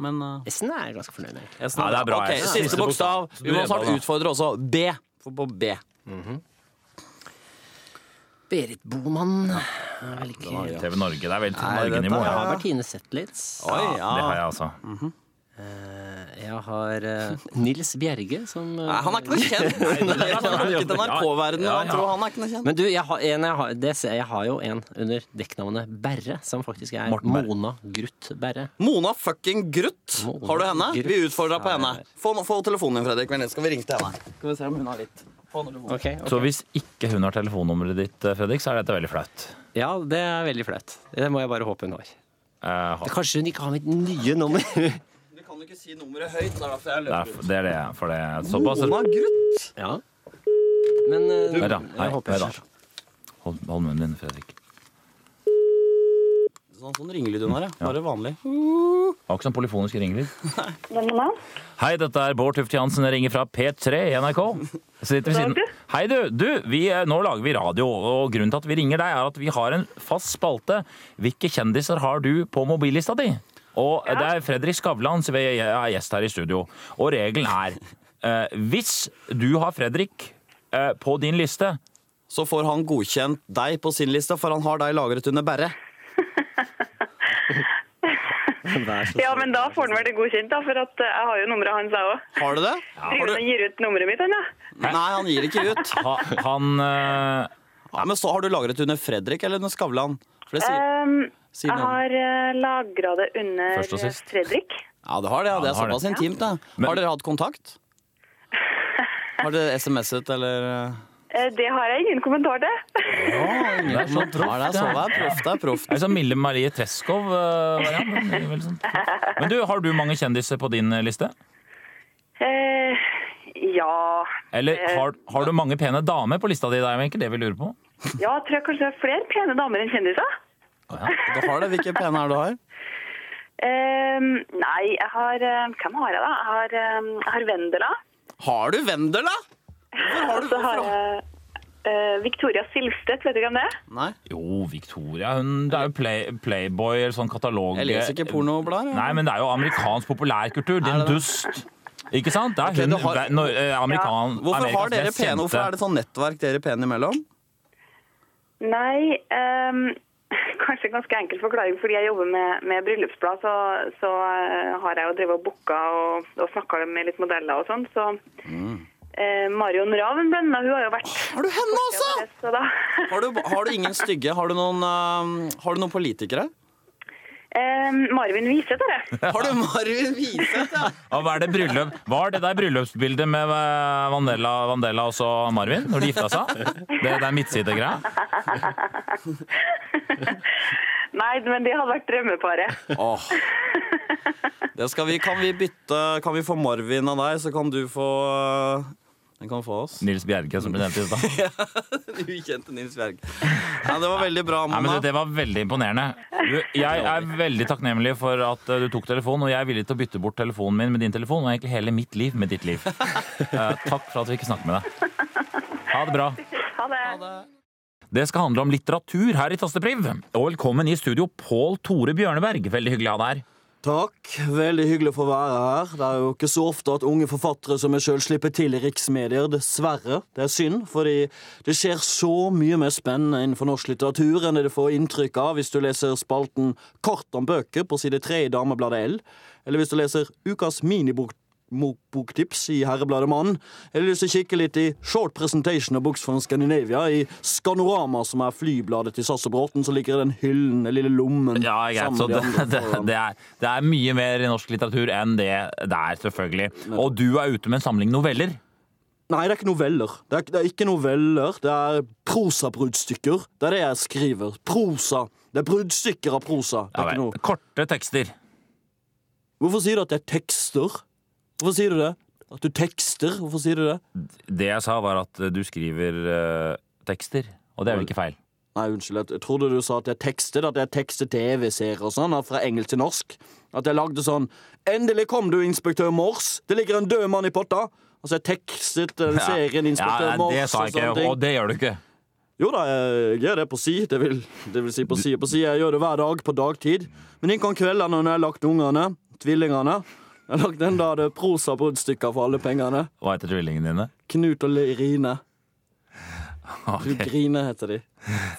A: Men eh,
G: S-en er jeg ganske fornøyd med. egentlig.
A: jeg
B: Ja,
A: snakker-
B: det er bra,
A: Ok,
B: jeg.
A: Siste bokstav.
B: Så
A: Vi
B: du
A: må
B: er
A: snart
B: bra, da.
A: utfordre også B. For på B.
G: Berit Boman. Jeg er vel ikke helt-
B: TV Norge. Det er vel til
A: Nei, dette Mm.
B: Norge-nivå.
G: Jeg
B: Ja.
G: har Bertine Zetlitz.
A: Oi, ja.
B: Det har jeg altså.
G: Jeg har eh, Nils Bjerge som eh,
A: Nei, han er ikke noe kjent! Nei, han er ikke NRK-verdenen.
B: Ja, ja.
A: Han tror han er ikke noe kjent.
G: Men du, jeg har, en, jeg, har, det ser, jeg jeg har jo en under dekknavnet Berre, som faktisk er
B: Morten Berre.
G: Mona Gruth Berre.
A: Mona fucking Gruth!
G: Mona
A: Har du henne?
G: Gruth.
A: Vi utfordrer deg på henne.
G: Her.
A: Få, få telefonen din, Fredrik. Vent litt, skal vi ringe til henne. Skal vi se om hun har litt. Få henne telefonen.
B: Så hvis ikke hun har telefonnummeret ditt, eh, Fredrik, så er dette veldig flaut.
G: Ja, det er veldig flaut. Det må jeg bare håpe hun har.
B: Eh, ha-
G: Kanskje hun ikke har mitt nye nummer?
A: Du kan jo ikke si nummeret høyt. Det er derfor jeg
B: det
A: løper
B: er,
A: ut.
B: det er det, for det er såpass
A: Mona Gruth!
G: ja. Men eh,
B: Der, ja. Hei,
G: jeg håper
B: hei,
G: jeg
B: da. Hold, hold munnen din, Fredrik. Det
A: Sånn, sånn ringelyd hun har, ja. Bare vanlig.
B: var ikke sånn polifonisk ringelyd.
I: Hvem er det?
B: Hei, dette er Bård Tufte Jansen. Jeg ringer fra P3 i NRK. Jeg Sitter ved siden. Hei, du. du vi, eh, nå lager vi radio, og grunnen til at vi ringer deg, er at vi har en fast spalte. Hvilke kjendiser har du på mobillista di? Og eh, det er Fredrik Skavlan som er er gjest her i studio. Og regelen er eh, hvis du har Fredrik eh, på din liste,
A: Så får han godkjent deg på sin liste, for han har deg lagret under Berre.
I: Ja, men da får han vel det godkjent, da, for at eh, jeg har jo nummeret hans, jeg òg.
A: Har du det?
I: Tror
A: Har
I: du
A: du...
I: han gir ut nummeret mitt, han, da?
A: Nei, han gir ikke ut.
B: ha, han eh,
A: Nei, men så Har du lagret under Fredrik eller under Skavlan? For det sier...
I: Ehm,
A: Si
I: jeg
A: navnet.
I: har uh, lagra det under eh,
B: Først og sist.
I: Fredrik.
A: Ja, det har det. Ja. Det
B: Ja,
A: er
B: det har
A: såpass
B: det.
A: intimt. Da.
B: Men-
A: Har dere hatt kontakt? Har dere SMS-et eller
I: Eh, det har jeg ingen kommentar til.
A: Ja, ingen
B: er så
A: kommentar der, så det er proft. Det er proft.
B: Det er sånn Mille Marie eh, Treskov-variant. sånn. Men du, har du mange kjendiser på din liste?
I: Eh, ja
B: Eller har, har du mange pene damer på lista di? Det er jo egentlig det vi lurer på.
I: Ja, jeg tror jeg kanskje det er flere pene damer enn kjendiser.
A: Du har det. Hvilke pene er det du har?
I: Ehm, nei, jeg har eh, Hvem har jeg, da? Jeg har, eh, jeg har Vendela.
A: Har du Vendel, da? Hvorfor har du
I: Så har
A: hvorfor har-
I: jeg eh, Victoria Silstedt, vet du hvem det er?
A: Nei,
B: Jo, Victoria. Hun, det er jo play, Playboy eller sånn katalog...
A: jeg leser ikke pornoblader. jeg.
B: Nei, men det er jo amerikansk populærkultur. Din
A: det det?
B: dust. Ikke sant? Det er hun,
A: du har-
B: ve- nor- eh, amerikan,
A: Hvorfor
B: Amerikas
A: har dere
B: mest
A: pene? Hvorfor
B: kjente-
A: er det sånn nettverk dere pene imellom?
I: Nei, ehm, kanskje en ganske enkel forklaring. Fordi jeg jobber med, med bryllupsblad, så, så eh, har jeg jo drevet og booka og, og snakka med litt modeller og sånn. Så eh, Marion Ravn blant annet, hun har jo vært
A: Mm. Har du henne også?!
I: så da,
A: Har du, har du ingen stygge? Har du noen, eh, har du noen politikere?
I: Ehm, Marvin Wiseth er det.
A: Har du Marvin Wiseth? Ja?
B: Og hva er det bryllup? Var det der bryllupsbildet med eh, Vandela, Vandela og så Marvin når de gifta seg? Det der midtsidegreia?
I: Nei, men det hadde vært drømmeparet.
A: Åh. Det skal vi, kan vi bytte Kan vi få Marvin av deg, så kan du få eh, Den kan få oss.
B: Nils Bjerke som ble nevnt i stad.
A: Den ukjente Nils Bjerg. Ja, det var veldig bra,
B: Nei, men
A: Mona.
B: du, Det var veldig imponerende. Du, jeg er veldig takknemlig for at eh, du tok telefonen, og jeg er villig til å bytte bort telefonen min med din telefon, og egentlig hele mitt liv med ditt liv. Eh, takk for at vi ikke snakker med deg. Ha det bra.
I: Ha det.
B: Det skal handle om litteratur her i Tastepriv. Og velkommen i studio, Pål Tore Bjørneberg. Veldig hyggelig å ha deg her.
A: Takk. Veldig hyggelig å få være her. Det er jo ikke så ofte at unge forfattere som meg sjøl slipper til i riksmedier, dessverre. Det er synd, fordi det skjer så mye mer spennende innenfor norsk litteratur enn det du får inntrykk av hvis du leser spalten Kort om bøker på side tre i Damebladet L, eller hvis du leser Ukas minibok mo- boktips i Herrebladet Mann, eller hvis du kikker litt i Short Presentation of Books from Scandinavia i Skanorama, som er flybladet til Sasse Bråten, som ligger i den hyllende lille lommen
B: Ja, greit.
A: sammen
B: Så
A: med
B: det,
A: de andre
B: det,
A: foran.
B: det, er, det er mye mer i norsk litteratur enn det der, selvfølgelig. Og du er ute med en samling noveller.
A: Nei, det er ikke noveller. Det er, det er ikke noveller, det er prosabrudstykker. Det er det jeg skriver. Prosa. Det er bruddstykker av prosa. Det
B: Ja,
A: er ikke
B: vel.
A: noe.
B: Korte tekster.
A: Hvorfor sier du at det er tekster? Hvorfor sier du det? At du tekster? Hvorfor sier du det?
B: Det jeg sa, var at du skriver eh, tekster. Og det er vel ikke feil?
A: Nei, unnskyld. Jeg trodde du sa at jeg tekstet, at jeg tekstet TV-serier og sånn, fra engelsk til norsk. At jeg lagde sånn Endelig kom du, inspektør Mors! Det ligger en død mann i potta! Altså, jeg tekstet eh, serien Inspektør
B: Ja,
A: Mors
B: det sa
A: og
B: jeg ikke,
A: sånne ting.
B: og det gjør du ikke.
A: Jo da, jeg gjør det på si. Det vil, det vil si på si og på si. Jeg gjør det hver dag på dagtid. Men inn kan kveldene når jeg har lagt ungene, tvillingene. Jeg har lagt den da det er prosa bruddstykker for alle pengene.
B: Hva heter tvillingene dine?
A: Knut og Lerine.
B: Ok.
A: Grine heter de.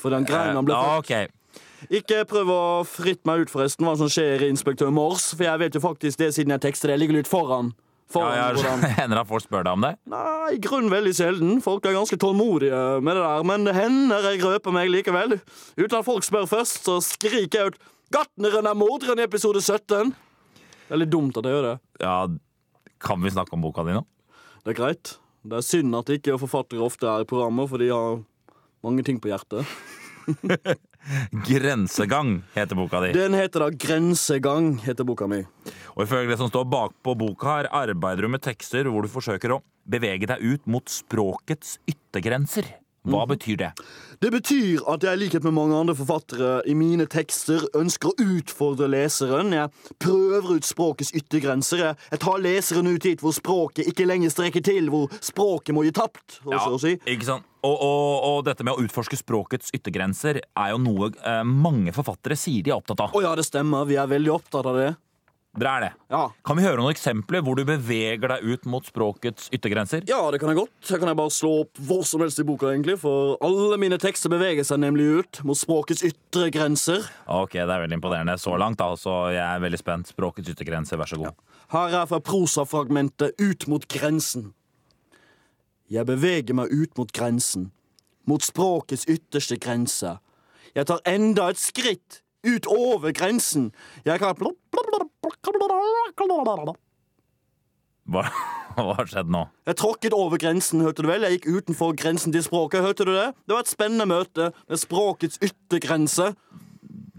A: For den greinen han ble
B: Ja,
A: født.
B: ok.
A: Ikke prøv å fritte meg ut, forresten, hva som skjer i Inspektør Mors, for jeg vet jo faktisk det siden jeg tekster det. Jeg ligger litt foran.
B: Ja,
A: Foran
B: jeg
A: hvordan
B: hender at folk spør deg om det.
A: Nei, Ah, i grunnen veldig sjelden. Folk er ganske tålmodige med det der. Men det hender jeg røper meg likevel. Uten at folk spør først, så skriker jeg ut 'Gartneren er morderen' i episode 17. Det er litt dumt at jeg gjør det.
B: Ja, kan vi snakke om boka di nå?
A: Det er greit. Det er synd at ikke forfattere ofte er i programmet, for de har mange ting på hjertet.
B: Grensegang heter boka di.
A: Den heter da 'Grensegang', heter boka mi.
B: Og ifølge det som står bakpå boka her, arbeider du med tekster hvor du forsøker å bevege deg ut mot språkets yttergrenser.
A: Mhm.
B: Hva betyr det?
A: Det betyr at jeg i likhet med mange andre forfattere i mine tekster ønsker å utfordre leseren. Jeg prøver ut språkets yttergrenser. Jeg, jeg tar leseren ut dit hvor språket ikke lenger strekker til, hvor språket må gi tapt. Og så å si.
B: ikke sant? Og, og, og dette med å utforske språkets yttergrenser er jo noe eh, mange forfattere sier de er opptatt av.
A: Å ja, det stemmer. Vi er veldig opptatt av det.
B: Dere er det.
A: Ja.
B: Kan vi høre noen eksempler hvor du beveger deg ut mot språkets yttergrenser?
A: ja, det kan jeg godt. Her kan jeg bare slå opp hvor som helst i boka, egentlig. For alle mine tekster beveger seg nemlig ut mot språkets ytre grenser.
B: Ok, det er veldig imponerende så langt, da, så jeg er veldig spent. Språkets yttergrenser, vær så god.
A: Her er fra prosafragmentet Ut mot grensen. Jeg beveger meg ut mot grensen, mot språkets ytterste grense. Jeg tar enda et skritt ut over grensen. Jeg kan Jeg
B: Hva, hva har skjedd nå?
A: tråkket over grensen, hørte du vel? Jeg gikk utenfor grensen til språket, hørte du det? Det var et spennende møte med språkets yttergrense.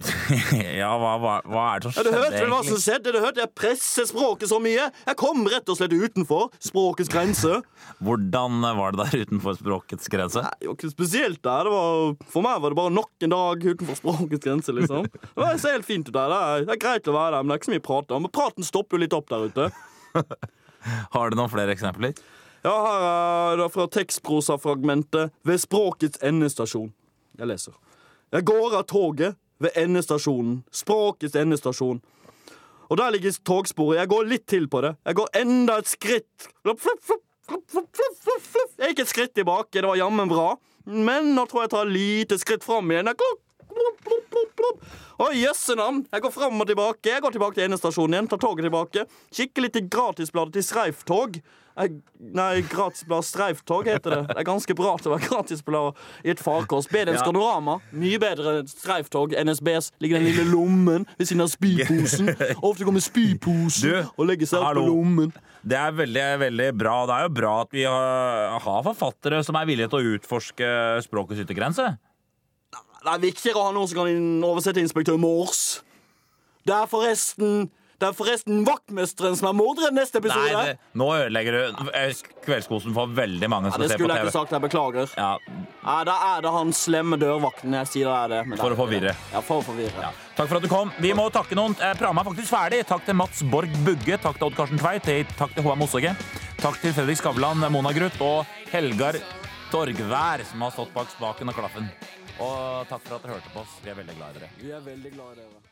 B: ja, hva, hva, hva er det som
A: Ja, du
B: skjedde?
A: hørte vel hva som
B: egentlig?
A: skjedde? Du hørte jeg presset språket så mye. Jeg kom rett og slett utenfor språkets grense.
B: Hvordan var det der utenfor språkets grense?
A: Nei, det var ikke spesielt der. Det var, for meg var det bare nok en dag utenfor språkets grense, liksom. Det var ser helt fint ut der. Det er, det er greit å være der, men det er ikke så mye prat om. Men praten stopper jo litt opp der ute.
B: Har du noen flere eksempler?
A: Ja, her er det fra tekstprosafragmentet ved språkets endestasjon. Jeg leser. Jeg går av toget ved endestasjonen. Språkets endestasjon. Og der ligger togsporet. Jeg går litt til på det. Jeg går enda et skritt. Flopp, flopp, flopp, flopp, flopp, flopp, flopp, flopp. Jeg gikk et skritt tilbake. Det var jammen bra. Men nå tror jeg jeg tar lite skritt fram igjen. Jeg går- Plopp, plopp, plopp, plopp. Å, jøsse navn! Jeg går fram og tilbake. Jeg går tilbake til endestasjonen igjen. Tar toget tilbake. Kikker litt i gratisbladet til Streiftog. Jeg, nei, gratisbladet Streiftog heter det. Det er ganske bra til å være gratisblad i et farkors. Bedre enn Skanorama. Mye bedre enn Streiftog. NSBs ligger den lille lommen ved siden av spyposen. Ofte kommer spyposen
B: Du,
A: og legger seg opp
B: hallo.
A: i lommen.
B: Det er veldig, veldig bra. Det er jo bra at vi har, har forfattere som er villige til å utforske språkets yttergrense.
A: Det er viktigere å ha noen som kan inn- oversette inspektør Mors. Det er forresten Det er forresten vaktmesteren som er morderen neste episode.
B: Nei, det, nå ødelegger du eh, Kveldskosen for veldig mange
A: Ja,
B: som
A: det
B: ser på
A: skulle jeg ikke
B: TV.
A: sagt. Jeg beklager.
B: Ja,
A: Nei, da er det han slemme dørvakten jeg sier det er det. men det
B: For å
A: er det.
B: forvirre.
A: Ja, for å forvirre.
B: takk for at du kom. Vi må takke noen. Eh, Programmet er faktisk ferdig. Takk til Mats Borg Bugge. Takk til Odd Karsten Tveit. eh, Takk til Håvard Mossegge. Takk til Fredrik Skavlan, Mona Gruth og Helgar Torgvær, som har stått bak spaken og klaffen. Og takk for at dere hørte på oss. Vi er veldig glad i dere.
A: Vi er veldig glad i dere.